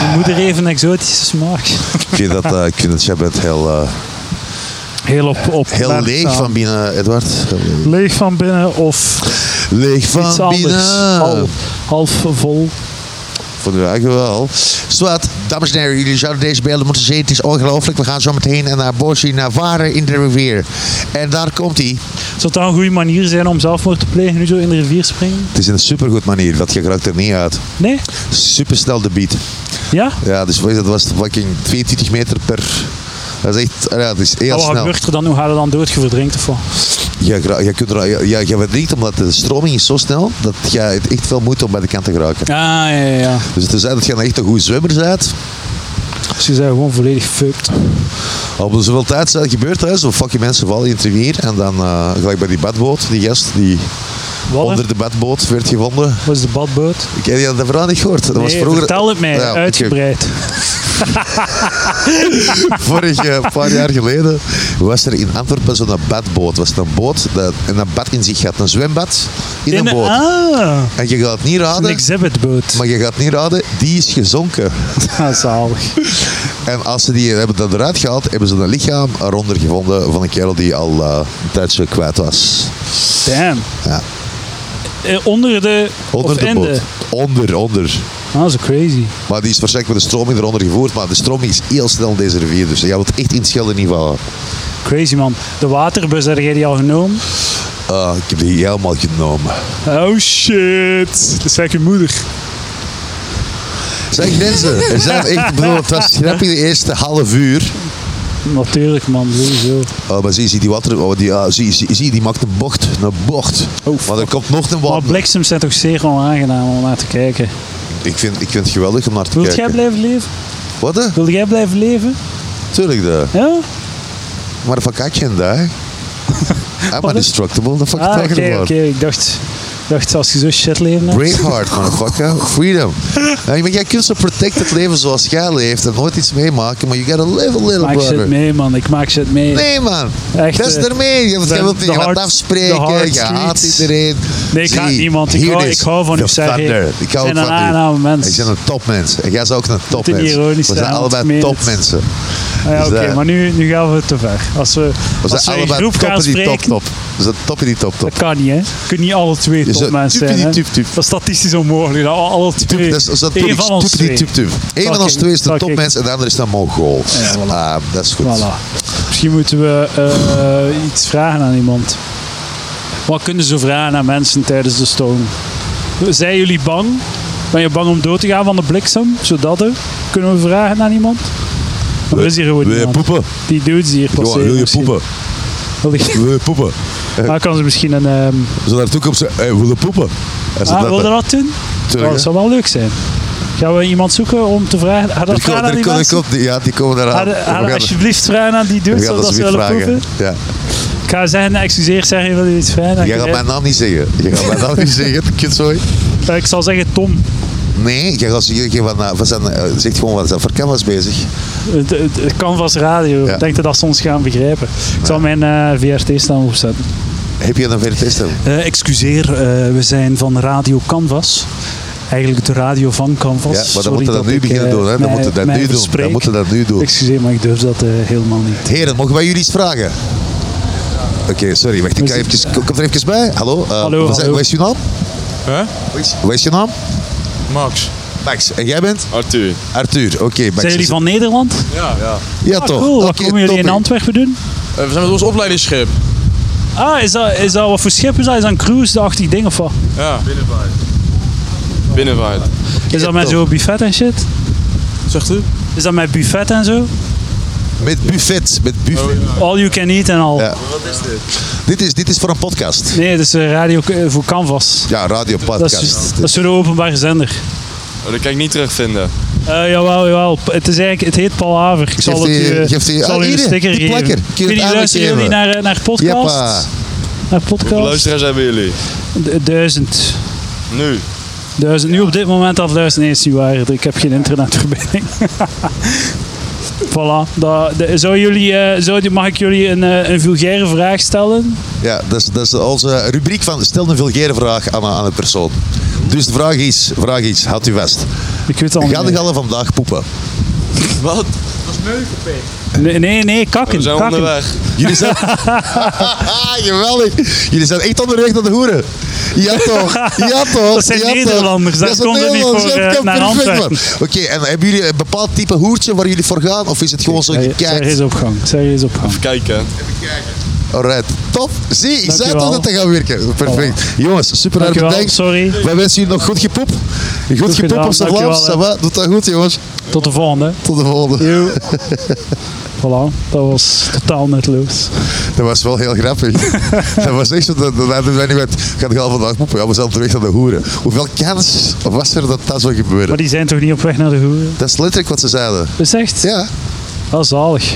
Speaker 1: Je moeder heeft een exotische smaak.
Speaker 2: Ik vind dat, eh, ik vind dat jij bent heel, eh,
Speaker 1: Heel op, op
Speaker 2: heel
Speaker 1: merk
Speaker 2: leeg
Speaker 1: staan.
Speaker 2: van binnen, Edward. Heel leeg.
Speaker 1: Leeg van binnen of
Speaker 2: Leeg van
Speaker 1: iets anders.
Speaker 2: binnen.
Speaker 1: Half, half vol.
Speaker 2: Vond je eigenlijk wel. Zwart, dames en heren, jullie zouden deze beelden moeten zien. Het is ongelooflijk. We gaan zo meteen naar Borsje, naar Varen in de rivier. En daar komt hij.
Speaker 1: Zou dat een goede manier zijn om zelfmoord te plegen? Nu zo in de rivier springen?
Speaker 2: Het is een supergoed manier, want je raakt er niet uit.
Speaker 1: Nee?
Speaker 2: Supersnel de beat.
Speaker 1: Ja?
Speaker 2: Ja, dus wat is dat was het fucking 22 meter per. Dat is echt, ja, dat is heel
Speaker 1: Maar Oh, wat
Speaker 2: snel.
Speaker 1: gebeurt er dan? Hoe ga je dan dood? Je verdrinkt of wat?
Speaker 2: Je, gra- je, kunt er, je, je verdrinkt omdat de stroming is zo snel dat je het echt veel moeite om bij de kant te geraken.
Speaker 1: Ah, ja, ja, ja.
Speaker 2: Dus het is dat je een echt een goede zwemmer bent.
Speaker 1: Dus je bent gewoon volledig fucked.
Speaker 2: Op de zoveel tijd zijn dat gebeurd, hè, zo fucking mensen vallen in het rivier. En dan eh, gelijk bij die badboot, die gast die
Speaker 1: Wat?
Speaker 2: onder de badboot werd gevonden.
Speaker 1: was de badboot?
Speaker 2: Ik heb dat verhaal niet gehoord. Dat was
Speaker 1: nee,
Speaker 2: vroeger.
Speaker 1: vertel het mij,
Speaker 2: Ja, oké.
Speaker 1: uitgebreid.
Speaker 2: Vorig eh, paar jaar geleden was er in Antwerpen zo'n badboot. Was het een boot dat een bad in zich had, een zwembad in, een boot.
Speaker 1: Ah,
Speaker 2: En je gaat het niet
Speaker 1: een
Speaker 2: raden,
Speaker 1: exhibitboot.
Speaker 2: maar je gaat het niet raden, die is gezonken.
Speaker 1: Ah, zalig.
Speaker 2: En als ze die eh, hebben dat eruit gehaald, hebben ze een lichaam eronder gevonden van een kerel die al eh, een tijdje kwijt was.
Speaker 1: Damn.
Speaker 2: Ja.
Speaker 1: Eh, onder de...
Speaker 2: Onder
Speaker 1: of
Speaker 2: de
Speaker 1: in
Speaker 2: boot.
Speaker 1: de-
Speaker 2: Onder, onder.
Speaker 1: Ah, zo crazy.
Speaker 2: Maar die is waarschijnlijk met de stroming eronder gevoerd, maar de stroming is heel snel in deze rivier, dus jij wilt echt in het schelden niet vallen.
Speaker 1: Crazy, man. De waterbus, heb jij die al genomen?
Speaker 2: Ah, ik heb die helemaal genomen.
Speaker 1: Oh, shit. Dat is eigenlijk je moeder.
Speaker 2: Zeg mensen, er zijn echt, ik bedoel, het was grappig de eerste half uur.
Speaker 1: Natuurlijk, man. Sowieso.
Speaker 2: Oh, maar zie je, zie die water, oh, die, ah, zie, zie, zie, die maakt een bocht, een bocht.
Speaker 1: Oh, fuck.
Speaker 2: maar er komt nog een
Speaker 1: Maar
Speaker 2: water.
Speaker 1: bliksems zijn toch zeer onaangenaam om naar te kijken.
Speaker 2: Ik vind, ik vind het geweldig om naar te
Speaker 1: Wilt jij
Speaker 2: kijken.
Speaker 1: blijven leven?
Speaker 2: Wat hè?
Speaker 1: Wil jij blijven leven?
Speaker 2: Tuurlijk de.
Speaker 1: Ja?
Speaker 2: Maar een vakantje in daar. I'm
Speaker 1: hè?
Speaker 2: indestructible, the fuck
Speaker 1: Ah,
Speaker 2: talking
Speaker 1: oké,
Speaker 2: about.
Speaker 1: oké. Ik dacht... dacht, als je zo shit leven hebt...
Speaker 2: Braveheart, motherfucker. Freedom. Ja, maar jij kunt zo protected leven zoals jij leeft en nooit iets meemaken, maar you gotta live a little
Speaker 1: maak shit
Speaker 2: brother.
Speaker 1: mee, man. Ik maak shit mee.
Speaker 2: Nee, man.
Speaker 1: Echt,
Speaker 2: dat is
Speaker 1: eh,
Speaker 2: ermee. Je, want jij
Speaker 1: de-
Speaker 2: wilt
Speaker 1: de
Speaker 2: niet je gaat
Speaker 1: hard- de
Speaker 2: afspreken.
Speaker 1: hard
Speaker 2: Je haat
Speaker 1: streets.
Speaker 2: iedereen.
Speaker 1: Nee, ik haat
Speaker 2: Zie,
Speaker 1: niemand. Ik
Speaker 2: hier
Speaker 1: hou-
Speaker 2: is
Speaker 1: ik hou van
Speaker 2: de
Speaker 1: u, zeg, hey.
Speaker 2: Thunder. Ik hou
Speaker 1: Zijn
Speaker 2: ook
Speaker 1: een
Speaker 2: van u.
Speaker 1: aangename mens.
Speaker 2: Ik ben een topmens. En jij is ook een topmens.
Speaker 1: ironisch
Speaker 2: We zijn
Speaker 1: zijn, want ik
Speaker 2: allebei
Speaker 1: meen het.
Speaker 2: topmensen.
Speaker 1: Ah, ja,
Speaker 2: Dus,
Speaker 1: Oké,
Speaker 2: eh,
Speaker 1: maar nu, nu gaan we te ver. Als we,
Speaker 2: We
Speaker 1: als
Speaker 2: zijn
Speaker 1: we in
Speaker 2: allebei
Speaker 1: groep
Speaker 2: top
Speaker 1: gaan
Speaker 2: in die
Speaker 1: spreken,
Speaker 2: top top. We zijn top in die top top.
Speaker 1: dat kan niet, hè. Je kunt niet alle twee
Speaker 2: Je zou-
Speaker 1: topmensen
Speaker 2: tup,
Speaker 1: zijn, hè.
Speaker 2: tup, tup, tup.
Speaker 1: Dat is statistisch onmogelijk, dat al- alle twee.
Speaker 2: Tup, dat is, dat
Speaker 1: Eén van ons twee.
Speaker 2: Eén van
Speaker 1: Zal
Speaker 2: ons
Speaker 1: ik-
Speaker 2: twee is
Speaker 1: zal
Speaker 2: de
Speaker 1: ik-
Speaker 2: topmens en de andere is een Mongool.
Speaker 1: Ja, voilà.
Speaker 2: Ah, dat is goed.
Speaker 1: Voilà. Misschien moeten we eh, iets vragen aan iemand. Wat kunnen ze vragen aan mensen tijdens de storm? Zijn jullie bang? Ben je bang om dood te gaan van de bliksem? Zodat er? Kunnen we vragen aan iemand? Er is hier gewoon
Speaker 2: Wil je
Speaker 1: iemand.
Speaker 2: poepen?
Speaker 1: Die dudes die hier
Speaker 2: Johan,
Speaker 1: passeren.
Speaker 2: wil je
Speaker 1: misschien.
Speaker 2: poepen?
Speaker 1: Wil die-
Speaker 2: Wil je poepen?
Speaker 1: Maar kan ze misschien een... ehm
Speaker 2: Zo naar de toekomst zeggen, hey, wil je poepen? En zo
Speaker 1: ah,
Speaker 2: dat-
Speaker 1: wil je dat doen?
Speaker 2: Tuurlijk,
Speaker 1: Oh, dat zou wel leuk zijn. Gaan we iemand zoeken om te vragen? Ga dat
Speaker 2: Er
Speaker 1: vragen
Speaker 2: komt-
Speaker 1: aan
Speaker 2: er
Speaker 1: die
Speaker 2: komt- er
Speaker 1: mensen?
Speaker 2: komt- Ja, die komen
Speaker 1: Ga
Speaker 2: eraan.
Speaker 1: dat-
Speaker 2: We
Speaker 1: ga dat
Speaker 2: gaan-
Speaker 1: alsjeblieft vragen aan die
Speaker 2: we
Speaker 1: dudes,
Speaker 2: gaan
Speaker 1: zodat
Speaker 2: dat
Speaker 1: ze
Speaker 2: zoiets
Speaker 1: willen
Speaker 2: vragen.
Speaker 1: proeven?
Speaker 2: Ja.
Speaker 1: Ik ga zeggen, excuseer, zeggen wil je iets vragen?
Speaker 2: Jij gaat
Speaker 1: Ik-
Speaker 2: mijn naam niet zeggen. Jij gaat mijn naam niet zeggen, kutzooi.
Speaker 1: Ja, Eh, ik zal zeggen Tom.
Speaker 2: Nee, jij gaat zeggen van, eh, van zijn, eh, zegt gewoon wat zijn voor cameras bezig.
Speaker 1: Het, het, het Canvas Radio.
Speaker 2: Ja.
Speaker 1: Ik denk dat dat soms gaan begrijpen. Ik zal mijn eh VRT staan opzetten.
Speaker 2: Heb je een VRT-stem?
Speaker 1: Eh, excuseer, eh, we zijn van Radio Canvas. Eigenlijk de radio van Canvas.
Speaker 2: Ja, maar dan moeten we dat nu
Speaker 1: eh,
Speaker 2: beginnen doen. Hè. Dan moeten we dat nu doen. Dan moeten we dat nu doen.
Speaker 1: Excuseer, maar ik durf dat eh, helemaal niet.
Speaker 2: Heren, mogen wij jullie iets vragen? Oké, sorry, wacht, ik ga
Speaker 1: Muziek.
Speaker 2: even, kom kom er even bij. Hallo, eh,
Speaker 1: Hallo,
Speaker 2: wat, is-
Speaker 1: hallo.
Speaker 2: wat is je naam?
Speaker 3: Hè?
Speaker 2: Wat is je naam?
Speaker 3: Max.
Speaker 2: Max, en jij bent?
Speaker 3: Arthur.
Speaker 2: Arthur, oké. Max
Speaker 1: Zijn jullie
Speaker 2: is-
Speaker 1: van Nederland?
Speaker 3: Ja. ja.
Speaker 2: Ja,
Speaker 1: Ah,
Speaker 2: toch.
Speaker 1: cool. Wat
Speaker 2: Oké,
Speaker 1: komen jullie in
Speaker 2: toppie.
Speaker 1: Antwerpen doen?
Speaker 3: Eh, we zijn met ons opleidingsschip.
Speaker 1: Ah, is dat, is dat wat voor schip is dat? Is dat een cruise-achtig ding of wat?
Speaker 3: Ja. Binnenvaart. Binnenvaart.
Speaker 1: Is dat met
Speaker 2: top.
Speaker 1: zo'n buffet en shit?
Speaker 3: Zegt u?
Speaker 1: Is dat met buffet en zo?
Speaker 2: Met buffet, met buffet.
Speaker 1: All you can eat en al.
Speaker 2: Ja.
Speaker 3: Wat is dit?
Speaker 2: Dit, is, dit is voor een podcast.
Speaker 1: Nee, dat is eh, radio eh, voor Canvas.
Speaker 2: Ja,
Speaker 1: Dat
Speaker 2: radiopodcast.
Speaker 1: is, dat is voor de openbare zender.
Speaker 3: Oh, dat kan ik niet terugvinden.
Speaker 1: Eh, jawel, jawel. Het, is eigenlijk, het heet Palaver. Ik zal
Speaker 2: Geeft
Speaker 1: het
Speaker 2: die-
Speaker 1: u, eh,
Speaker 2: geeft die-
Speaker 1: ik zal
Speaker 2: ah,
Speaker 1: u een
Speaker 2: hier,
Speaker 1: sticker
Speaker 2: die
Speaker 1: geven.
Speaker 2: plakker. Kun je
Speaker 1: Ik weet
Speaker 2: het
Speaker 1: niet, luisteren
Speaker 2: aangeven?
Speaker 1: jullie naar, eh, naar
Speaker 2: Jeppa.
Speaker 1: podcasts? Naar
Speaker 3: Hoeveel
Speaker 1: podcasts?
Speaker 3: luisteraars hebben jullie?
Speaker 1: Du- Duizend.
Speaker 3: Nu.
Speaker 1: Duizend. Nu op dit moment af duizend. Nee, is niet waar. Ik heb geen internetverbinding. voilà. Dat, de- zou jullie, eh, zou, die- mag ik jullie een, eh, een vulgaire vraag stellen?
Speaker 2: Ja, dat is, dat is onze rubriek van stel een vulgaire vraag aan, een- aan een persoon. Dus de vraag is, vraag is, houd u vast.
Speaker 1: Ik weet het al
Speaker 2: Ga
Speaker 1: niet.
Speaker 2: de gallen vandaag poepen?
Speaker 3: Wat?
Speaker 1: Nee, nee, nee, kakken.
Speaker 3: We zijn
Speaker 1: kakken.
Speaker 3: onderweg.
Speaker 2: Jullie zijn... Haha, geweldig. Jullie zijn echt onderweg naar de hoeren. Ja toch, ja toch.
Speaker 1: Dat zijn
Speaker 2: ja toch.
Speaker 1: Nederlanders, daar
Speaker 2: Dat zijn
Speaker 1: komt het niet
Speaker 2: Nederlanders,
Speaker 1: voor,
Speaker 2: ja,
Speaker 1: eh,
Speaker 2: kan
Speaker 1: naar
Speaker 2: perfect,
Speaker 1: Antwerpen.
Speaker 2: man. Oké, en hebben jullie een bepaald type hoertje waar jullie voor gaan? Of is het gewoon zo
Speaker 1: Zij- Zij
Speaker 2: gekijkt?
Speaker 1: is op gang. Zij is op gang.
Speaker 3: Even kijken.
Speaker 2: Alright, top. Zie, ik zei
Speaker 1: Dankjewel.
Speaker 2: toch dat dat gaat werken. Perfect. Jongens, super hard
Speaker 1: Dankjewel,
Speaker 2: bedankt.
Speaker 1: sorry.
Speaker 2: Wij wensen jullie nog goed gepoep. Goed gepoep
Speaker 1: gedaan,
Speaker 2: op zijn
Speaker 1: dankjewel,
Speaker 2: Vlaams.
Speaker 1: hè.
Speaker 2: Ça va? Doet dat goed, jongens.
Speaker 1: Tot de volgende.
Speaker 2: Tot de volgende.
Speaker 1: Yo. voilà, dat was totaal netloos.
Speaker 2: Dat was wel heel grappig. dat was echt zo. Dat, dat, dat wij niet met. Gaat de halve dag poepen? Ja, we zijn terug naar de hoeren. Hoeveel kans was er dat dat zou gebeuren?
Speaker 1: Maar die zijn toch niet op weg naar de hoeren?
Speaker 2: Dat is letterlijk wat ze zeiden.
Speaker 1: Dus echt,
Speaker 2: Ja,
Speaker 1: dat is Ah, zalig.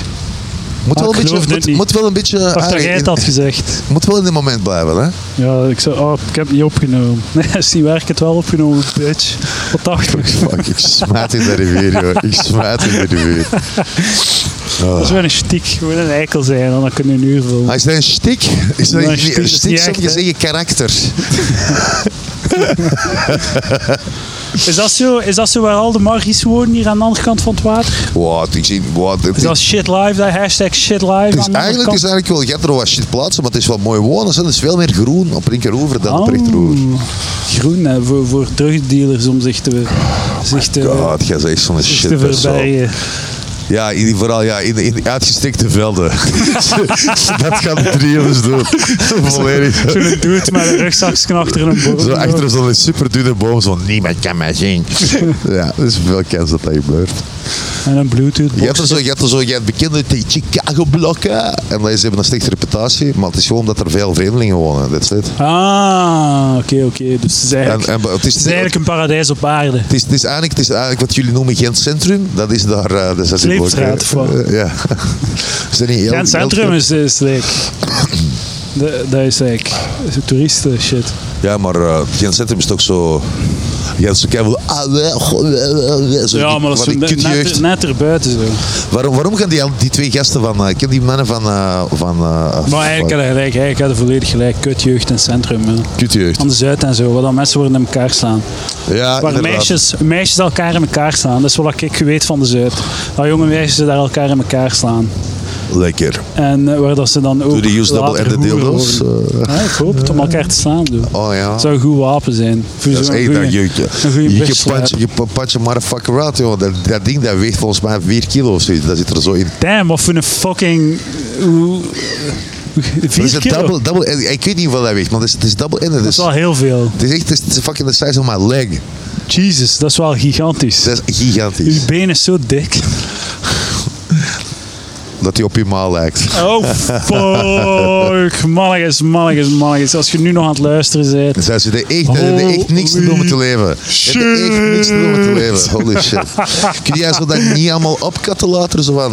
Speaker 2: moet
Speaker 1: Ah,
Speaker 2: wel
Speaker 1: ik
Speaker 2: een beetje.
Speaker 1: geloof dit
Speaker 2: Moet,
Speaker 1: niet.
Speaker 2: moet wel een beetje.
Speaker 1: Dacht
Speaker 2: ah,
Speaker 1: dat jij
Speaker 2: in-
Speaker 1: het had gezegd.
Speaker 2: Moet wel in het moment blijven, hè?
Speaker 1: Ja, ik zei, oh, ik heb het niet opgenomen. Nee, dat is niet waar, ik heb het wel opgenomen, bitch. Wat dacht ik?
Speaker 2: Fuck, ik smaat in de rivier, joh. Ik smaat in de rivier.
Speaker 1: Dat is wel een stiek, gewoon een eikel zijn, dan kunnen we een uur vullen.
Speaker 2: Maar is dat een stik? Is dat
Speaker 1: Nee,
Speaker 2: een
Speaker 1: shtick
Speaker 2: stik?
Speaker 1: is niet
Speaker 2: Stik zou
Speaker 1: echt,
Speaker 2: je
Speaker 1: hè?
Speaker 2: zeggen karakter.
Speaker 1: Is dat zo, is dat zo waar al de margies wonen hier aan de andere kant van het water?
Speaker 2: Wat, ik zie, wat. Het
Speaker 1: Is dat shit live, dat hashtag shit live aan de
Speaker 2: het is
Speaker 1: andere
Speaker 2: Dus eigenlijk,
Speaker 1: kant?
Speaker 2: is eigenlijk wel, je hebt er wel wat shit plaatsen, maar het is wel mooi wonen. hè. Het is veel meer groen op linkeroever dan op
Speaker 1: Oh,
Speaker 2: rechteroever.
Speaker 1: Groen, hè, voor, voor drugdealers om zich te, zich te,
Speaker 2: Oh God, jij zegt zo'n
Speaker 1: zich
Speaker 2: shit
Speaker 1: te
Speaker 2: persoon.
Speaker 1: verbergen.
Speaker 2: Ja, in, die- vooral ja, in, in uitgestrekte velden. dat gaan de drieërs doen. Volledig.
Speaker 1: Zo'n dude met een rugzakje achter een boom.
Speaker 2: Zo achter zo'n superdunne boom, zo niemand kan mij zien. ja, er is veel kans dat dat gebeurt.
Speaker 1: En een bluetooth
Speaker 2: Je hebt er zo, je hebt er zo, je hebt bekende die Chicago blokken. En die- ze hebben een slechte reputatie, maar het is gewoon dat er veel vreemdelingen wonen. That's it.
Speaker 1: Ah, oké, oké. Dus het is,
Speaker 2: En,
Speaker 1: eigenlijk,
Speaker 2: en het, is,
Speaker 1: het is eigenlijk een paradijs op aarde.
Speaker 2: het, is, het, is eigenlijk, het is eigenlijk wat jullie noemen Gent Centrum. Dat is daar... eh, dat is
Speaker 1: Sleepstraat,
Speaker 2: Ja. Is dat niet heel-
Speaker 1: Ja, het
Speaker 2: heel-
Speaker 1: centrum is, is leuk. De- dat is eigenlijk dat is toeristen shit.
Speaker 2: Ja, maar eh, geen centrum is toch zo... Je hebt zo keihard... Ah, we- goh, we- we- we- zo
Speaker 1: Ja,
Speaker 2: die-
Speaker 1: maar dat is
Speaker 2: van
Speaker 1: zo
Speaker 2: die
Speaker 1: net,
Speaker 2: kutjeugd.
Speaker 1: net, net erbuiten zo.
Speaker 2: Waarom, waarom gaan die, al- die twee gasten van... eh, ken die mannen van... eh, van eh,
Speaker 1: Maar eigenlijk had hij gelijk, eigenlijk had hij volledig gelijk. Kutjeugd in het centrum. hè.
Speaker 2: Kutjeugd.
Speaker 1: Aan de Zuid en zo, waar dan mensen worden in elkaar slaan.
Speaker 2: Ja,
Speaker 1: Waar
Speaker 2: inderdaad.
Speaker 1: meisjes, meisjes elkaar in elkaar slaan. Dat is wat ik weet van de Zuid. Dat jonge meisjes daar elkaar in elkaar slaan.
Speaker 2: Lekker.
Speaker 1: En eh, waar dat ze dan ook
Speaker 2: Doe die use double
Speaker 1: later
Speaker 2: en de
Speaker 1: hoeren
Speaker 2: dildo's.
Speaker 1: worden.
Speaker 2: eh,
Speaker 1: Ja, ik hoop het, om elkaar te slaan. Doe.
Speaker 2: oh ja.
Speaker 1: Het zou een goed wapen zijn. Voor
Speaker 2: Dat is
Speaker 1: zo'n
Speaker 2: echt
Speaker 1: goeie-
Speaker 2: dat jeukje.
Speaker 1: Dus een goeie
Speaker 2: Je
Speaker 1: best
Speaker 2: punch, je punch een motherfucker out, joh. Dat, dat ding dat weegt volgens mij 4 kilo of zoiets. Dat zit er zo in.
Speaker 1: Damn, wat voor een fucking... eh, Hoe,
Speaker 2: Dat
Speaker 1: vier
Speaker 2: is een
Speaker 1: kilo.
Speaker 2: double, double, en- ik weet niet hoeveel dat weegt, maar het is, het is double-ended.
Speaker 1: Dat
Speaker 2: Dus,
Speaker 1: is wel heel veel.
Speaker 2: het is echt het is, het is fucking the size of my leg.
Speaker 1: Jesus, dat is wel gigantisch.
Speaker 2: Dat is gigantisch.
Speaker 1: Uw been is zo dik.
Speaker 2: Dat hij op je maal lijkt.
Speaker 1: Oh, fuck. Mannetjes, mannetjes, mannetjes. Als je nu nog aan het luisteren bent.
Speaker 2: Dus dat ze er echt, dat ze
Speaker 1: Oh,
Speaker 2: er echt niks te doen met te leven. Dat ze echt niks te doen met te leven. Holy shit. Kun jij zo dat niet allemaal opkatten later? Zo van,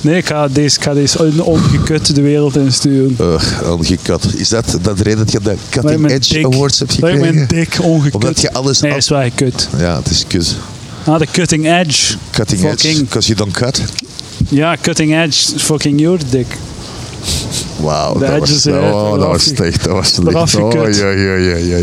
Speaker 1: Nee, ik ga deze, ik ga deze ongekut de wereld insturen.
Speaker 2: eh, ongekat. Is dat, dat de reden dat je de
Speaker 1: Dat
Speaker 2: Cutting
Speaker 1: mijn
Speaker 2: Edge
Speaker 1: dik-
Speaker 2: Awards hebt
Speaker 1: dat ik
Speaker 2: gekregen?
Speaker 1: mijn dik ongekut.
Speaker 2: Omdat je alles
Speaker 1: Nee,
Speaker 2: af-
Speaker 1: is wel gekut.
Speaker 2: Ja, het is kut.
Speaker 1: Ah, de cutting edge.
Speaker 2: Cutting edge,
Speaker 1: Fucking-
Speaker 2: because you don't cut.
Speaker 1: Ja, cutting edge is fucking your dik.
Speaker 2: Wauw,
Speaker 1: De
Speaker 2: dat was,
Speaker 1: edges eruit,
Speaker 2: oh, dat
Speaker 1: eraf
Speaker 2: was
Speaker 1: ge-
Speaker 2: slecht, dat was
Speaker 1: eraf
Speaker 2: slecht. Oh,
Speaker 1: gekut.
Speaker 2: ja, ja, ja, ja.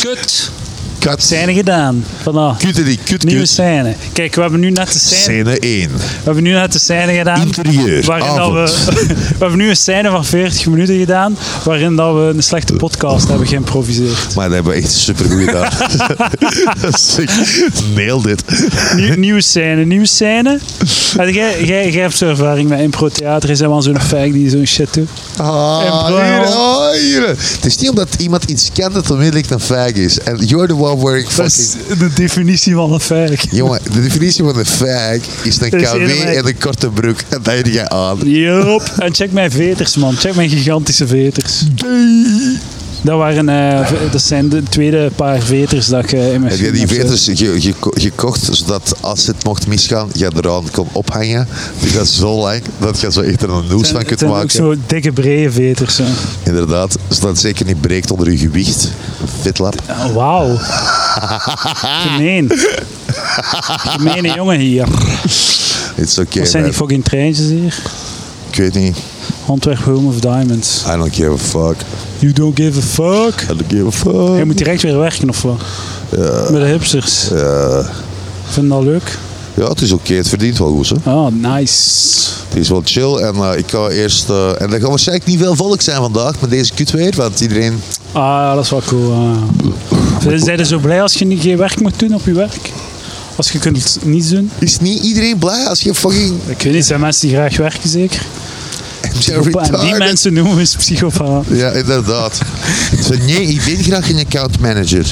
Speaker 1: Kut.
Speaker 2: Kat,
Speaker 1: Scène gedaan. Vanaf.
Speaker 2: kutte die, kut,
Speaker 1: Nieuwe
Speaker 2: kut.
Speaker 1: scène. Kijk, we hebben nu net de scène,
Speaker 2: Scène 1.
Speaker 1: we hebben nu net de scène gedaan.
Speaker 2: Interieur,
Speaker 1: Waarin dat we, we hebben nu een scène van 40 minuten gedaan. Waarin dat we een slechte podcast hebben geïmproviseerd.
Speaker 2: Maar dat hebben we echt super goed gedaan. Sick. Nailed dit.
Speaker 1: Nieuw, nieuwe scène, nieuwe scène. Maar Jij, jij, jij hebt zo'n ervaring met impro-theater. Is helemaal zo'n fake die zo'n shit doet.
Speaker 2: Ah,
Speaker 1: En
Speaker 2: hier,
Speaker 1: blauw.
Speaker 2: ah, hier. Het is niet omdat iemand iets kent dat het onmiddellijk een fag is. En you're the one wearing
Speaker 1: Dat is
Speaker 2: fucking...
Speaker 1: de definitie van een fake.
Speaker 2: Jongen, de definitie van een fag is een
Speaker 1: is
Speaker 2: KW
Speaker 1: helemaal-
Speaker 2: en een korte broek. En dat heb jij aan.
Speaker 1: Yup. En check mijn veters, man. Check mijn gigantische veters. Dat, waren, eh, v- dat zijn de tweede paar veters dat ik eh, in mijn
Speaker 2: Heb jij
Speaker 1: schoen
Speaker 2: die
Speaker 1: heb
Speaker 2: veters ge- geko- gekocht, zodat als het mocht misgaan, je eraan kon ophangen? Die gaat zo lang dat je zo echt er een noes
Speaker 1: zitten.
Speaker 2: van kunt
Speaker 1: Het zijn ook
Speaker 2: maken.
Speaker 1: zo dikke, brede veters. hè.
Speaker 2: Inderdaad, zodat het zeker niet breekt onder je gewicht. Fitlap.
Speaker 1: Oh, Wauw. Gemeen. Gemeene jongen hier.
Speaker 2: It's okay,
Speaker 1: Wat zijn die
Speaker 2: man.
Speaker 1: fucking treintjes hier?
Speaker 2: Ik weet niet.
Speaker 1: Antwerp Home of Diamonds.
Speaker 2: I don't give a fuck.
Speaker 1: You don't give a fuck.
Speaker 2: I don't give a fuck.
Speaker 1: Je moet direct weer werken of wat? Met de hipsters.
Speaker 2: Eh,
Speaker 1: Vind je dat leuk?
Speaker 2: ja, het is oké. Het verdient wel goed, hè.
Speaker 1: Oh, nice.
Speaker 2: Het is wel chill en eh, ik ga eerst... eh, en er gaat waarschijnlijk niet veel volk zijn vandaag met deze kut weer, want iedereen...
Speaker 1: Ah, dat is wel cool. ja. Zijn zijn er zo blij als je niet geen werk moet doen op je werk? Als je kunt niet doen?
Speaker 2: Is niet iedereen blij als je fucking...
Speaker 1: Ik weet niet, zijn mensen die graag werken zeker? En eh, die
Speaker 2: retarded-
Speaker 1: mensen noemen we eens psychopaat.
Speaker 2: Ja, inderdaad. Zo, nee, ik ben graag een account manager.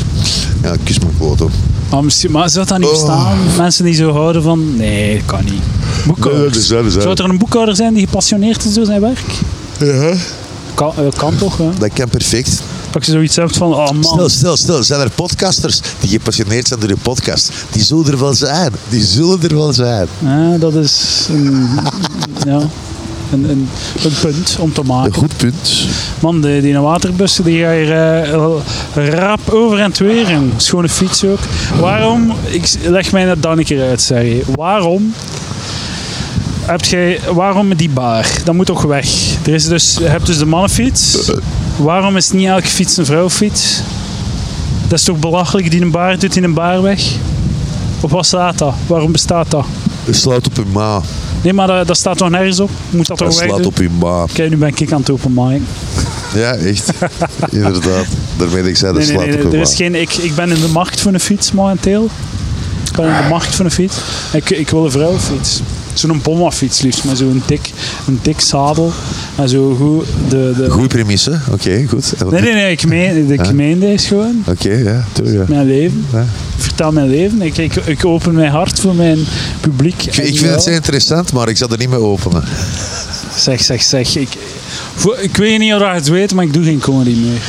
Speaker 2: Ja, kus mijn foto.
Speaker 1: Ah, Maar, misschien, maar zou dat niet
Speaker 2: Oh.
Speaker 1: bestaan? Mensen die zo houden van... Nee, dat kan niet.
Speaker 2: Nee, dat
Speaker 1: Boekhouders.
Speaker 2: is waar, dat is waar.
Speaker 1: zou er een boekhouder zijn die gepassioneerd is door zijn werk? Kan, eh, kan toch, hè?
Speaker 2: Dat kan perfect.
Speaker 1: Dat je zoiets hebt van... Oh man,
Speaker 2: Stel, stel, stel. Zijn er podcasters die gepassioneerd zijn door je podcast? Die zullen er wel zijn. Die zullen er wel zijn.
Speaker 1: hè, dat is een, ja, een, een, een punt om te maken.
Speaker 2: Een goed punt.
Speaker 1: Man, de, die waterbussen die gaan hier eh, rap over en het weer in. Schone fiets ook. Waarom, ik s- leg mij dat dan een keer uit, Serge. Waarom heb jij, waarom met die baar? Dat moet toch weg? Er is dus, je hebt dus de mannenfiets. Waarom is niet elke fiets een vrouwfiets? Dat is toch belachelijk, die een baar doet in een baar weg? Of wat staat dat? Waarom bestaat dat?
Speaker 2: Het slaat op je ma.
Speaker 1: Nee, maar dat, dat staat toch nergens op? Moet dat
Speaker 2: Het
Speaker 1: toch weg?
Speaker 2: slaat
Speaker 1: doen?
Speaker 2: op je ma.
Speaker 1: Kijk, nu ben ik aan het openmaken.
Speaker 2: Ja, echt. Inderdaad. Daarmee dat Dus ik
Speaker 1: Nee,
Speaker 2: zei, dat
Speaker 1: nee,
Speaker 2: slaat
Speaker 1: nee,
Speaker 2: op je
Speaker 1: er
Speaker 2: ma.
Speaker 1: is geen, ik, ik ben in de markt voor een fiets momenteel. Ik ben in de markt voor een fiets. Ik, ik wil een vrouwenfiets. Zo'n bommafiets liefst, maar zo'n dik, een dik zadel. En zo goed de... de...
Speaker 2: Goeie premisse. Oké, goed. En-
Speaker 1: Nee, nee, nee, ik meen, ik meen deze gewoon.
Speaker 2: Oké, ja. Tuurlijk, ja.
Speaker 1: Mijn leven.
Speaker 2: Ja.
Speaker 1: Ik vertel mijn leven. Ik, ik, ik open mijn hart voor mijn publiek.
Speaker 2: Ik, ik vind het zeer interessant, maar ik zal er niet mee openen.
Speaker 1: Zeg, zeg, zeg. Ik, voor- ik weet niet of je het weet, maar ik doe geen comedy meer.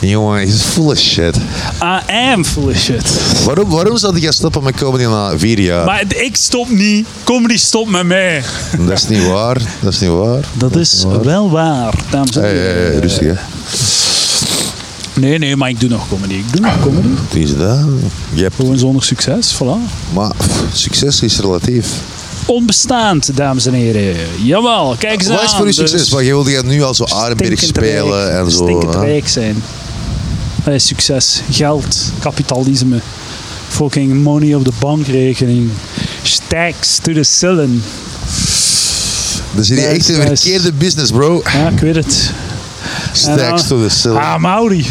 Speaker 2: Jongen, is full of shit.
Speaker 1: I am full of shit.
Speaker 2: Waarom, waarom zou die gaan stoppen met comedy na vier jaar?
Speaker 1: Maar ik stop niet. Comedy stopt met mij.
Speaker 2: Dat is niet waar. Dat is niet waar.
Speaker 1: Dat is wel waar, dames en
Speaker 2: Hey,
Speaker 1: heren.
Speaker 2: hey, hey, rustig hè.
Speaker 1: Nee, nee, maar ik doe nog comedy. Ik doe nog comedy.
Speaker 2: Het is dat. Je hebt,
Speaker 1: Gewoon zonder succes, voilà.
Speaker 2: maar pff, succes is relatief.
Speaker 1: Onbestaand, dames en heren. Jawel, kijk eens aan.
Speaker 2: Wat is voor je
Speaker 1: Dus
Speaker 2: succes? Want je wilde nu al zo Arenberg
Speaker 1: stinkend
Speaker 2: spelen
Speaker 1: rijk.
Speaker 2: en zo.
Speaker 1: Stinkend
Speaker 2: hè?
Speaker 1: rijk zijn. Dat is succes. Geld, kapitalisme. Fucking money op de bankrekening. Stacks to the ceiling.
Speaker 2: Dan zit je
Speaker 1: Nee,
Speaker 2: echt in
Speaker 1: dat
Speaker 2: een
Speaker 1: is-
Speaker 2: verkeerde business, bro.
Speaker 1: Ja, ik weet het.
Speaker 2: Stacks
Speaker 1: dan-
Speaker 2: to the ceiling.
Speaker 1: Ah, Mauri.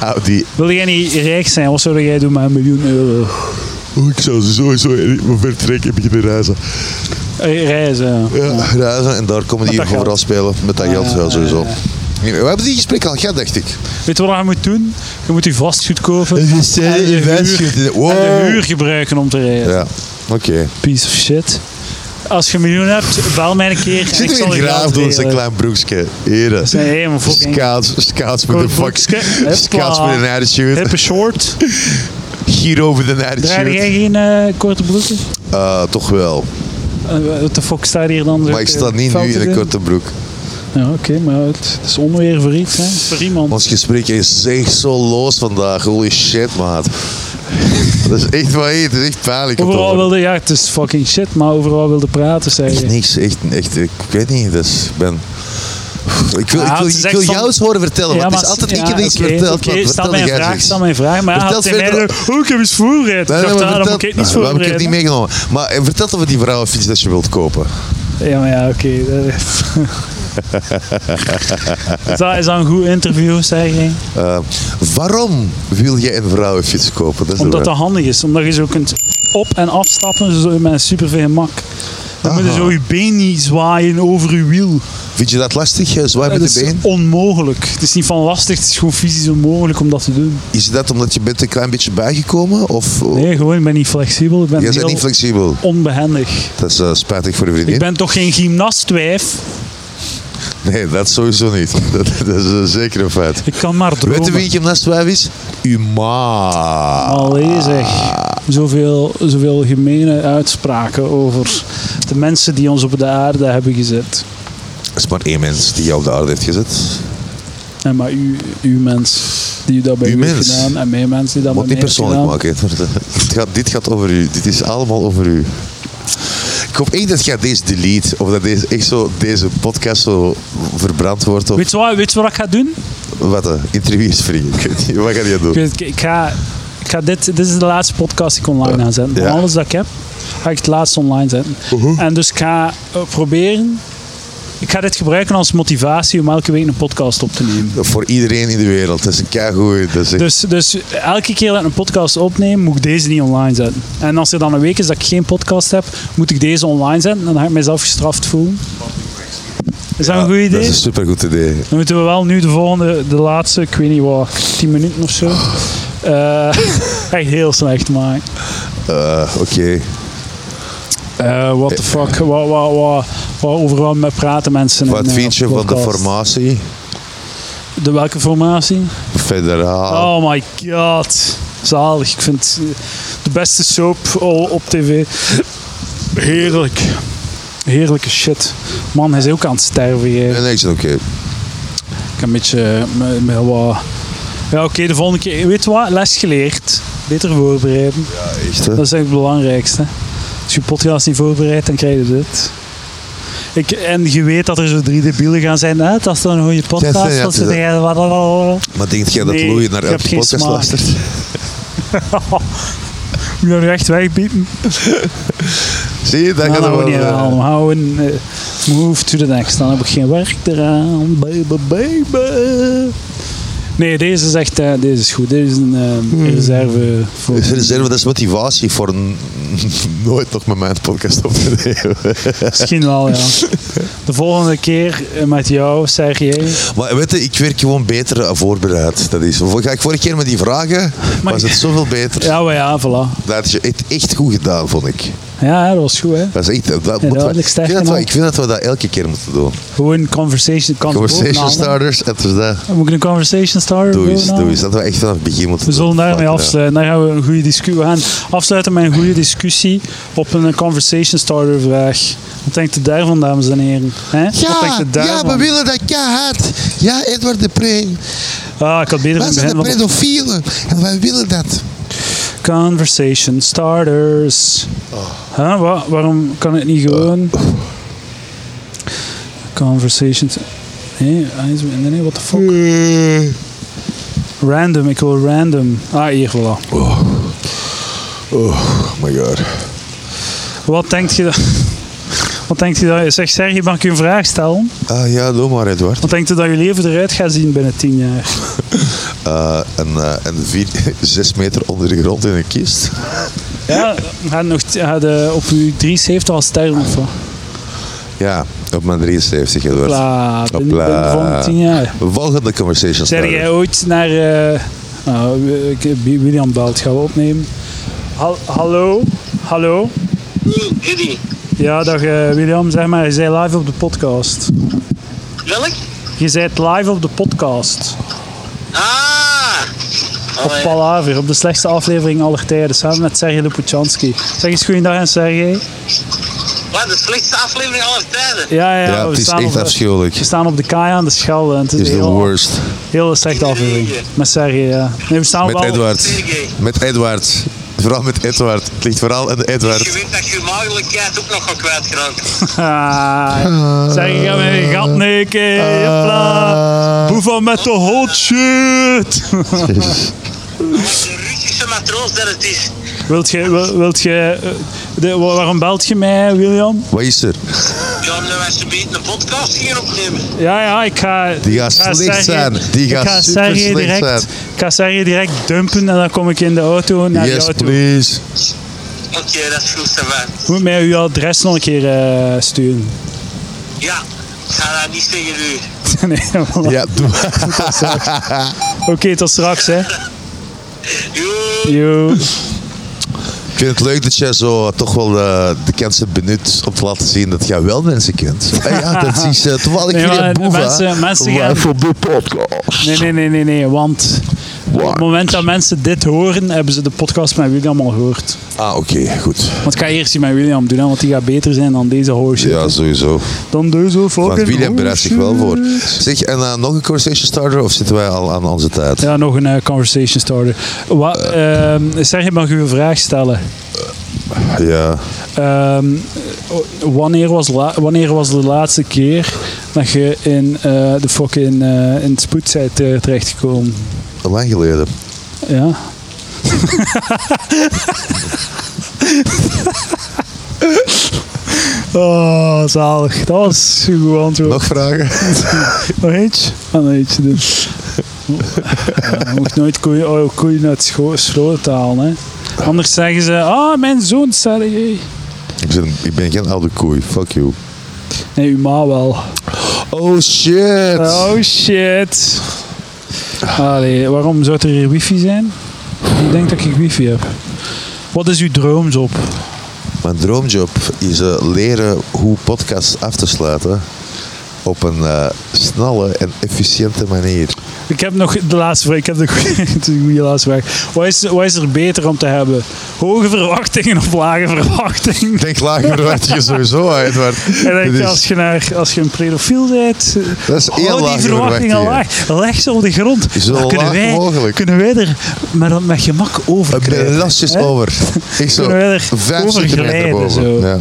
Speaker 2: Audi.
Speaker 1: Wil jij niet rijk zijn? Wat zou jij doen met een miljoen euro?
Speaker 2: Oh, ik zou ze sowieso me vertrekken en beginnen reizen.
Speaker 1: Eh, Reizen.
Speaker 2: Ja, reizen en daar komen die
Speaker 1: dat Ah.
Speaker 2: overal
Speaker 1: geld.
Speaker 2: spelen. Met dat geld
Speaker 1: ja,
Speaker 2: wel sowieso.
Speaker 1: ja,
Speaker 2: Nee, We hebben die gesprekken al gehad, dacht ik.
Speaker 1: Weet je wat je moet doen? Je moet je vastgoed kopen. En de huur- en de huur gebruiken om te rijden.
Speaker 2: Ja, oké.
Speaker 1: Piece of shit. Als je een miljoen hebt, bel mij een keer. en
Speaker 2: Zit
Speaker 1: ik
Speaker 2: er
Speaker 1: zal je
Speaker 2: weer graaf
Speaker 1: geld
Speaker 2: door zijn
Speaker 1: regelen.
Speaker 2: klein broekje. Heren.
Speaker 1: Zijn helemaal fucking-
Speaker 2: Skaats, skaats met
Speaker 1: Kort
Speaker 2: een fuck.
Speaker 1: broekske. Hopla.
Speaker 2: Skaats met een attitude.
Speaker 1: Hippe short.
Speaker 2: Giro met een
Speaker 1: Draag jij
Speaker 2: attitude.
Speaker 1: geen eh, korte broeken?
Speaker 2: Eh, toch wel.
Speaker 1: Eh, Wat de fuck staat hier dan?
Speaker 2: Maar ik sta niet nu in een korte broek.
Speaker 1: Ja, oké, maar het is onweer voor iets, hè? Voor iemand.
Speaker 2: Ons gesprek is echt zo los vandaag. Holy shit, maat. Dat is echt waar, het is echt pijnlijk. om te
Speaker 1: Overal
Speaker 2: horen.
Speaker 1: wilde, ja, het is fucking shit, maar overal wilde praten, zei
Speaker 2: Echt
Speaker 1: je.
Speaker 2: niks, echt, echt, ik weet niet, dus ik ben... Ik wil,
Speaker 1: Ah,
Speaker 2: ik wil,
Speaker 1: ze
Speaker 2: ik
Speaker 1: zegt
Speaker 2: wil
Speaker 1: van-
Speaker 2: jou eens horen vertellen, want het is
Speaker 1: maar-
Speaker 2: altijd ik
Speaker 1: ja,
Speaker 2: die iets
Speaker 1: oké,
Speaker 2: vertelt.
Speaker 1: oké,
Speaker 2: maar
Speaker 1: stel
Speaker 2: vertel
Speaker 1: mijn
Speaker 2: jij eens
Speaker 1: vraag,
Speaker 2: iets.
Speaker 1: stel mijn vraag. Maar hij
Speaker 2: Vertel
Speaker 1: had tegen mij
Speaker 2: verder-
Speaker 1: gezegd, oh, ik heb iets voorbereid.
Speaker 2: Nee,
Speaker 1: Ik
Speaker 2: nee,
Speaker 1: dacht,
Speaker 2: maar
Speaker 1: ah, dan moet
Speaker 2: vertel,
Speaker 1: ik niets
Speaker 2: waarom heb ik het niet
Speaker 1: voorbereiden.
Speaker 2: meegenomen? Maar eh, vertel over die vrouwenfiets dat je wilt kopen.
Speaker 1: Ja, maar ja, oké. dat is- Is dat- Is dat een goed interview, zei je?
Speaker 2: Eh, waarom wil je een vrouwenfiets kopen? Dat is de
Speaker 1: Omdat
Speaker 2: vraag.
Speaker 1: dat handig is. Omdat je zo kunt op- en afstappen zo met superveel gemak. Dan moet je
Speaker 2: Aha.
Speaker 1: zo je been niet zwaaien over je wiel.
Speaker 2: Vind je dat lastig, eh, zwaai
Speaker 1: Dat
Speaker 2: met
Speaker 1: is
Speaker 2: de been?
Speaker 1: onmogelijk. Het is niet van lastig, het is gewoon fysisch onmogelijk om dat te doen.
Speaker 2: Is dat omdat je bent een klein beetje bijgekomen? Of of-
Speaker 1: Nee, gewoon, ik ben niet flexibel. Ik ben
Speaker 2: Oh. jij
Speaker 1: heel
Speaker 2: bent niet flexibel?
Speaker 1: onbehendig.
Speaker 2: Dat is eh, spijtig voor de
Speaker 1: Ik
Speaker 2: vriendin.
Speaker 1: ben toch geen gymnastwijf?
Speaker 2: Nee, dat sowieso niet. Dat, dat is eh, zeker een feit.
Speaker 1: Ik kan maar dromen.
Speaker 2: Weet je wie gymnast wijf is? Uw ma.
Speaker 1: Allee zeg,
Speaker 2: Ah,
Speaker 1: zoveel, zoveel gemene uitspraken over de mensen die ons op de aarde hebben gezet.
Speaker 2: Er is maar één mens die jou op de aarde heeft gezet.
Speaker 1: En maar u, uw mens die dat bij
Speaker 2: Uw
Speaker 1: u heeft
Speaker 2: mens?
Speaker 1: gedaan en mijn mens die dat bij
Speaker 2: Moet
Speaker 1: mij
Speaker 2: niet
Speaker 1: heeft
Speaker 2: persoonlijk
Speaker 1: gedaan.
Speaker 2: maken. hè. Het gaat, dit gaat over u. Dit is allemaal over u. Ik hoop echt dat jij deze delete. Of dat deze, echt zo, deze podcast zo verbrand wordt. Of
Speaker 1: Weet je, wat, weet je wat ik ga doen?
Speaker 2: wat? hè? Interviews vrienden. Ik weet niet. Wat ga je
Speaker 1: Ik,
Speaker 2: doen?
Speaker 1: weet- ik ga, ik ga dit, dit is de laatste podcast die ik online ga zetten. Van
Speaker 2: ja. Uh-huh.
Speaker 1: alles dat ik heb, ga ik het laatste online zetten. En dus ik ga eh, proberen... Ik ga dit gebruiken als motivatie om elke week een podcast op te nemen.
Speaker 2: Voor iedereen in de wereld. Dat is een keigoed. Dat is echt-
Speaker 1: Dus, dus elke keer dat ik een podcast opneem, moet ik deze niet online zetten. En als er dan een week is dat ik geen podcast heb, moet ik deze online zetten. Dan ga ik mezelf gestraft voelen. Is dat een goed
Speaker 2: dat
Speaker 1: idee?
Speaker 2: is een supergoed idee.
Speaker 1: Dan moeten we wel nu de volgende, de laatste, ik weet niet wat, 10 minuten of zo. Eh, echt heel slecht maken.
Speaker 2: Eh, Oké.
Speaker 1: Eh what the fuck, wat, wat, wat, wat overal met praten mensen. in,
Speaker 2: Wat
Speaker 1: eh,
Speaker 2: vind je van de
Speaker 1: podcast.
Speaker 2: formatie?
Speaker 1: De welke formatie?
Speaker 2: Federaal.
Speaker 1: Oh my god. Zalig. Ik vind het de beste soap al op tv. Heerlijk. Heerlijke shit. Man, hij is ook aan het sterven hier.
Speaker 2: Nee, nee, ik zeg oké.
Speaker 1: Ik heb een beetje... eh, me- me wat- Ja, oké, de volgende keer. Weet je wat? Les geleerd. Beter voorbereiden.
Speaker 2: Echt, hè?
Speaker 1: Dat is echt het belangrijkste. Als je podcast niet voorbereidt, dan krijg je dit. Ik, en je weet dat er zo drie debielen gaan zijn. Hè? Dat is dan een goede
Speaker 2: Dat
Speaker 1: podcast.
Speaker 2: is- ja,
Speaker 1: Dat ze
Speaker 2: dat-
Speaker 1: zeggen... wat- wat- wat- wat.
Speaker 2: Maar denk jij dat
Speaker 1: Nee,
Speaker 2: Louis naar
Speaker 1: je hebt
Speaker 2: elke
Speaker 1: geen
Speaker 2: podcast
Speaker 1: smaak.
Speaker 2: luistert?
Speaker 1: Moet je dat nu echt wegbieden?
Speaker 2: Zie je, dat
Speaker 1: Dan
Speaker 2: gaat er
Speaker 1: gaan we
Speaker 2: wel...
Speaker 1: Nou, niet
Speaker 2: eh,
Speaker 1: aan. Houden, eh, move to the next. Dan heb ik geen werk eraan. Baby, baby. Nee, deze is
Speaker 2: Hmm.
Speaker 1: echt eh, deze is goed. Deze is een eh, reserve voor.
Speaker 2: Reserve, dat is motivatie voor een nooit nog met mijn podcast opnemen.
Speaker 1: Misschien wel, ja. De volgende keer eh, met jou, Sergej.
Speaker 2: Maar weet je, ik werk gewoon beter eh, voorbereid. Dat is. Ga ik vorige keer met die vragen,
Speaker 1: Maar-
Speaker 2: was het zoveel beter.
Speaker 1: Ja, maar ja, voilà.
Speaker 2: Dat had je het echt goed gedaan, vond ik.
Speaker 1: Ja, dat was goed, hè.
Speaker 2: Dat is echt, dat moeten we-
Speaker 1: duidelijk,
Speaker 2: ik, vind
Speaker 1: sterk
Speaker 2: dat we,
Speaker 1: en
Speaker 2: ik vind dat we dat elke keer moeten doen.
Speaker 1: Gewoon conversation, kans
Speaker 2: Conversation
Speaker 1: bovenhalen.
Speaker 2: starters, het is dat.
Speaker 1: We moeten een conversation starter
Speaker 2: Doe eens,
Speaker 1: bovenhalen.
Speaker 2: doe eens. Dat we echt vanaf het begin moeten
Speaker 1: We zullen
Speaker 2: doen.
Speaker 1: daarmee
Speaker 2: Fuck, ja.
Speaker 1: afsluiten. Daar gaan we een goede discussie. We gaan afsluiten met een goede discussie op een conversation starter vraag. Wat denkt u daarvan, dames en heren? Hè? Wat denkt
Speaker 2: Ja,
Speaker 1: u
Speaker 2: ja,
Speaker 1: daarvan?
Speaker 2: we willen dat keihard. Ja, Edward de Pre.
Speaker 1: ah, ik had beter
Speaker 2: Wij
Speaker 1: van begin
Speaker 2: zijn
Speaker 1: van
Speaker 2: de pedofielen en wij willen dat.
Speaker 1: Conversation starters.
Speaker 2: Oh.
Speaker 1: Huh? Wa- waarom kan het niet gewoon? Conversations. Nee, eens- nee, nee, what the fuck? Eh. Random, ik wil random. Ah, hier, voilà.
Speaker 2: Oh my god.
Speaker 1: Wat denkt je dat... Wat denkt je dat... Zeg, Sergej, mag ik u een vraag stellen?
Speaker 2: Ah ja, doe maar Edward.
Speaker 1: Wat denkt u dat je leven eruit gaat zien binnen tien jaar?
Speaker 2: Eh, en eh, en vier, zes meter onder de grond in een kist.
Speaker 1: Ja, gaat nog gaat, eh, op uw 73 al sterren of wat?
Speaker 2: Ja, op mijn 73 Edward.
Speaker 1: Pla, binnen,
Speaker 2: Hopla.
Speaker 1: binnen de volgende tien jaar.
Speaker 2: Volgende conversation
Speaker 1: Zijn jij
Speaker 2: starter.
Speaker 1: ooit naar... eh, nou, ik- William belt, gaan we opnemen. Hal- hallo? Hallo?
Speaker 4: Jullie,
Speaker 1: Ja, dag eh, William, zeg maar, je bent live op de podcast.
Speaker 4: welk?
Speaker 1: Je bent live op de podcast.
Speaker 4: Ah!
Speaker 1: Op Palaver, op de slechtste aflevering aller tijden, samen met Sergej Loputchansky. Zeg eens goeiedag aan Sergej.
Speaker 4: Wat, de slechtste aflevering aller tijden.
Speaker 1: Ja, ja,
Speaker 2: Ja,
Speaker 1: we
Speaker 2: het is
Speaker 1: staan op
Speaker 2: echt
Speaker 1: de-
Speaker 2: afschuwelijk.
Speaker 1: We staan op de kaai aan de Schelde en het is,
Speaker 2: Het is de
Speaker 1: heel,
Speaker 2: worst.
Speaker 1: heel slechte aflevering. Met Sergej, ja. Nee, we staan
Speaker 2: Met
Speaker 1: op alle-
Speaker 2: Edward. Met Edward. Vooral met Edward. Het ligt vooral aan
Speaker 4: Je
Speaker 2: Edward.
Speaker 4: weet dat je je maagdelijkheid ook nog gaat kwijtgeraakt.
Speaker 1: Ah, Sergej, ga met je gat neuken. Hopla.
Speaker 2: Ah.
Speaker 1: Boeva met de hot shit.
Speaker 2: Jezus.
Speaker 4: Maar de Russische matroos dat het is.
Speaker 1: wilt je, wil- wilt je, eh, de, wa- waarom belt je mij, William?
Speaker 2: Wat is er?
Speaker 4: Ja, nu als ze beter een podcast gingen opnemen.
Speaker 1: Ja, ja, ik ga...
Speaker 2: Die gaat
Speaker 1: ik ga
Speaker 2: slecht zijn. Die
Speaker 1: ik
Speaker 2: gaat
Speaker 1: ga
Speaker 2: super
Speaker 1: Sergej
Speaker 2: slecht
Speaker 1: direct,
Speaker 2: zijn.
Speaker 1: Ik ga Sergej direct dumpen en dan kom ik in de auto naar
Speaker 2: Yes,
Speaker 1: jou toe.
Speaker 2: please.
Speaker 4: Oké, dat is goed, Savijn.
Speaker 1: Moet mij uw adres nog een keer eh, sturen.
Speaker 4: Ja, ik ga dat niet tegen u.
Speaker 1: nee, voilà.
Speaker 2: Ja, doe maar.
Speaker 1: Oké, tot straks, hè.
Speaker 4: Joe.
Speaker 1: Yo.
Speaker 2: Ik vind het leuk dat jij zo toch wel eh, de kans hebt benut om te laten zien dat jij wel mensen kent. Ah ja, dat is uh, toevallig
Speaker 1: Nee,
Speaker 2: weer
Speaker 1: maar eh,
Speaker 2: een boeva. eh,
Speaker 1: mensen- mensen
Speaker 2: live
Speaker 1: gaan-
Speaker 2: op de podcast.
Speaker 1: Nee, nee, nee, nee, nee, want op het moment dat mensen dit horen, hebben ze de podcast met William al gehoord.
Speaker 2: Ah, oké, goed.
Speaker 1: Want ik ga eerst die met William doen, hè, want die gaat beter zijn dan deze horseshit.
Speaker 2: Ja, sowieso.
Speaker 1: Dan deze
Speaker 2: Want
Speaker 1: fucking
Speaker 2: William bereidt zich wel voor.
Speaker 1: horseshit.
Speaker 2: Zeg, en eh, nog een conversation starter of zitten wij al aan onze tijd?
Speaker 1: Ja, nog een eh, conversation starter. Wat,
Speaker 2: Eh.
Speaker 1: ehm, Sergej, mag ik u een vraag stellen?
Speaker 2: Ja.
Speaker 1: Ehm, wanneer, was la- wanneer was de laatste keer dat je in eh, de fucking eh in het spoed bent eh, terechtgekomen?
Speaker 2: Lang geleden.
Speaker 1: Ja. oh, zalig. Dat was een goed antwoord.
Speaker 2: Nog vragen?
Speaker 1: Nog eentje? Ah, nog eentje doen. Ja, je mocht nooit koeien, oh, koeien uit scho- schroot halen. Hè. Anders zeggen ze, ah, mijn zoon, Sergej.
Speaker 2: Ik ben, ik ben geen oude koei. Fuck you.
Speaker 1: Nee, uw ma wel.
Speaker 2: Oh shit.
Speaker 1: Oh, shit. Allee, waarom zou er hier wifi zijn? Ik denk dat ik wifi heb. Wat is uw droomjob?
Speaker 2: Mijn droomjob is eh, leren hoe podcasts af te sluiten op een eh, snelle en efficiënte manier.
Speaker 1: Ik heb nog de laatste vraag. Ik heb de goede, de goede laatste vraag. Wat is, wat is er beter om te hebben? Hoge verwachtingen of lage verwachtingen?
Speaker 2: Denk lager wat je sowieso, Edward.
Speaker 1: En denk,
Speaker 2: Dit is-
Speaker 1: als, je naar, als je een pedofiel bent,
Speaker 2: Dat is heel
Speaker 1: hou die
Speaker 2: lage
Speaker 1: verwachtingen
Speaker 2: verwachtingen.
Speaker 1: laag. Leg ze op de grond.
Speaker 2: Zo
Speaker 1: Dan kunnen
Speaker 2: laag
Speaker 1: wij,
Speaker 2: mogelijk.
Speaker 1: kunnen wij er met, met gemak over
Speaker 2: Een
Speaker 1: kruipen,
Speaker 2: lasjes
Speaker 1: hè?
Speaker 2: over. Ik zo,
Speaker 1: Kunnen we er
Speaker 2: vijf
Speaker 1: over
Speaker 2: centimeter
Speaker 1: glijden,
Speaker 2: boven.
Speaker 1: zo?
Speaker 2: Ja.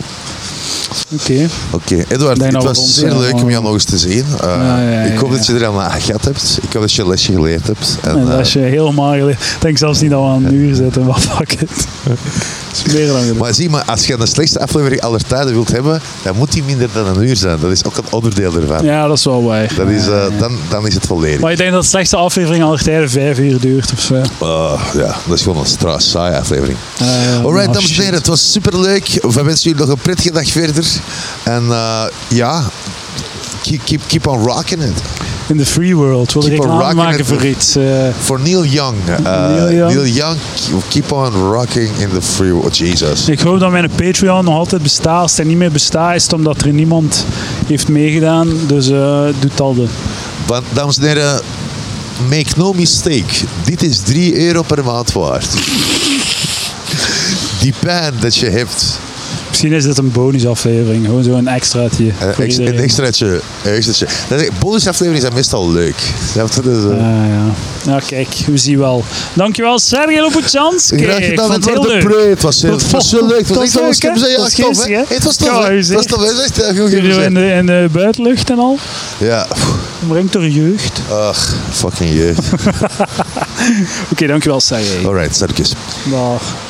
Speaker 1: Oké.
Speaker 2: Oké, Edward,
Speaker 1: Denk dat
Speaker 2: het
Speaker 1: we rond
Speaker 2: was zeer
Speaker 1: zijn,
Speaker 2: leuk om
Speaker 1: maar-
Speaker 2: jou nog eens te zien. Eh,
Speaker 1: Ja, ja, ja,
Speaker 2: ik hoop
Speaker 1: ja.
Speaker 2: dat je er aan aan gehad hebt. Ik hoop dat je een lesje geleerd hebt. En,
Speaker 1: En
Speaker 2: eh,
Speaker 1: dat je helemaal geleerd. Ik denk zelfs niet dat we aan een uur zitten, maar fuck it. Het is meer dan genoeg.
Speaker 2: maar zie, maar als je de slechtste aflevering aller tijden wilt hebben, dan moet die minder dan een uur zijn. Dat is ook een onderdeel ervan.
Speaker 1: Ja, dat is wel waar.
Speaker 2: Dat is, eh,
Speaker 1: Ja, ja.
Speaker 2: dan, dan is het volledig.
Speaker 1: Maar ik denk dat de slechtste aflevering aller tijden vijf uur duurt of zo.
Speaker 2: Ah, ja, dat is gewoon een stra- saaie aflevering.
Speaker 1: Eh,
Speaker 2: Alright,
Speaker 1: maar
Speaker 2: dames en
Speaker 1: shit.
Speaker 2: heren, het was superleuk. We wensen jullie nog een prettige dag verder. En eh, ja, keep, keep, keep on rocking it.
Speaker 1: In de free world wil ik
Speaker 2: Keep on
Speaker 1: reclame
Speaker 2: rocking
Speaker 1: maken
Speaker 2: it.
Speaker 1: voor iets. eh,
Speaker 2: Voor Neil Young. eh,
Speaker 1: Neil Young.
Speaker 2: Neil Young, keep on rocking in the free world. Jesus.
Speaker 1: Ik hoop dat mijn Patreon nog altijd bestaat. Als het niet meer bestaat, is het omdat er niemand heeft meegedaan. Dus eh doet al de.
Speaker 2: Want, dames en heren, make no mistake. Dit is 3 euro per maand waard. Die pijn dat je hebt.
Speaker 1: Misschien is dit een bonusaflevering. Gewoon zo'n extraatje.
Speaker 2: Eh,
Speaker 1: voor
Speaker 2: ex-
Speaker 1: iedereen.
Speaker 2: Een extraatje. Een extraatje. Dat is- Bonusafleveringen zijn meestal leuk. Snap je? Dus, eh,
Speaker 1: Ah, ja. Nou, kijk, we zien wel. Dankjewel, Sergej Lopuchansky.
Speaker 2: Graag gedaan, het
Speaker 1: heel
Speaker 2: wordt een
Speaker 1: leuk.
Speaker 2: preut. Het was heel-
Speaker 1: Tot
Speaker 2: het was heel
Speaker 1: volgende-
Speaker 2: leuk. Het was
Speaker 1: tot
Speaker 2: echt wel- ik heb
Speaker 1: zeker.
Speaker 2: gezegd, ja,
Speaker 1: Tot
Speaker 2: het was tof, hè?
Speaker 1: gisteren, hè? Ja,
Speaker 2: Het was tof, hè?
Speaker 1: u
Speaker 2: Het was
Speaker 1: zegt.
Speaker 2: tof, hè? Het is echt heel goed
Speaker 1: Jullie
Speaker 2: gezegd.
Speaker 1: in de, in de buitenlucht en al.
Speaker 2: Ja, pff,
Speaker 1: Omringd door jeugd.
Speaker 2: ach, fucking jeugd.
Speaker 1: Oké, dankjewel, Sergej.
Speaker 2: Oh. Alright, circus.
Speaker 1: Dag.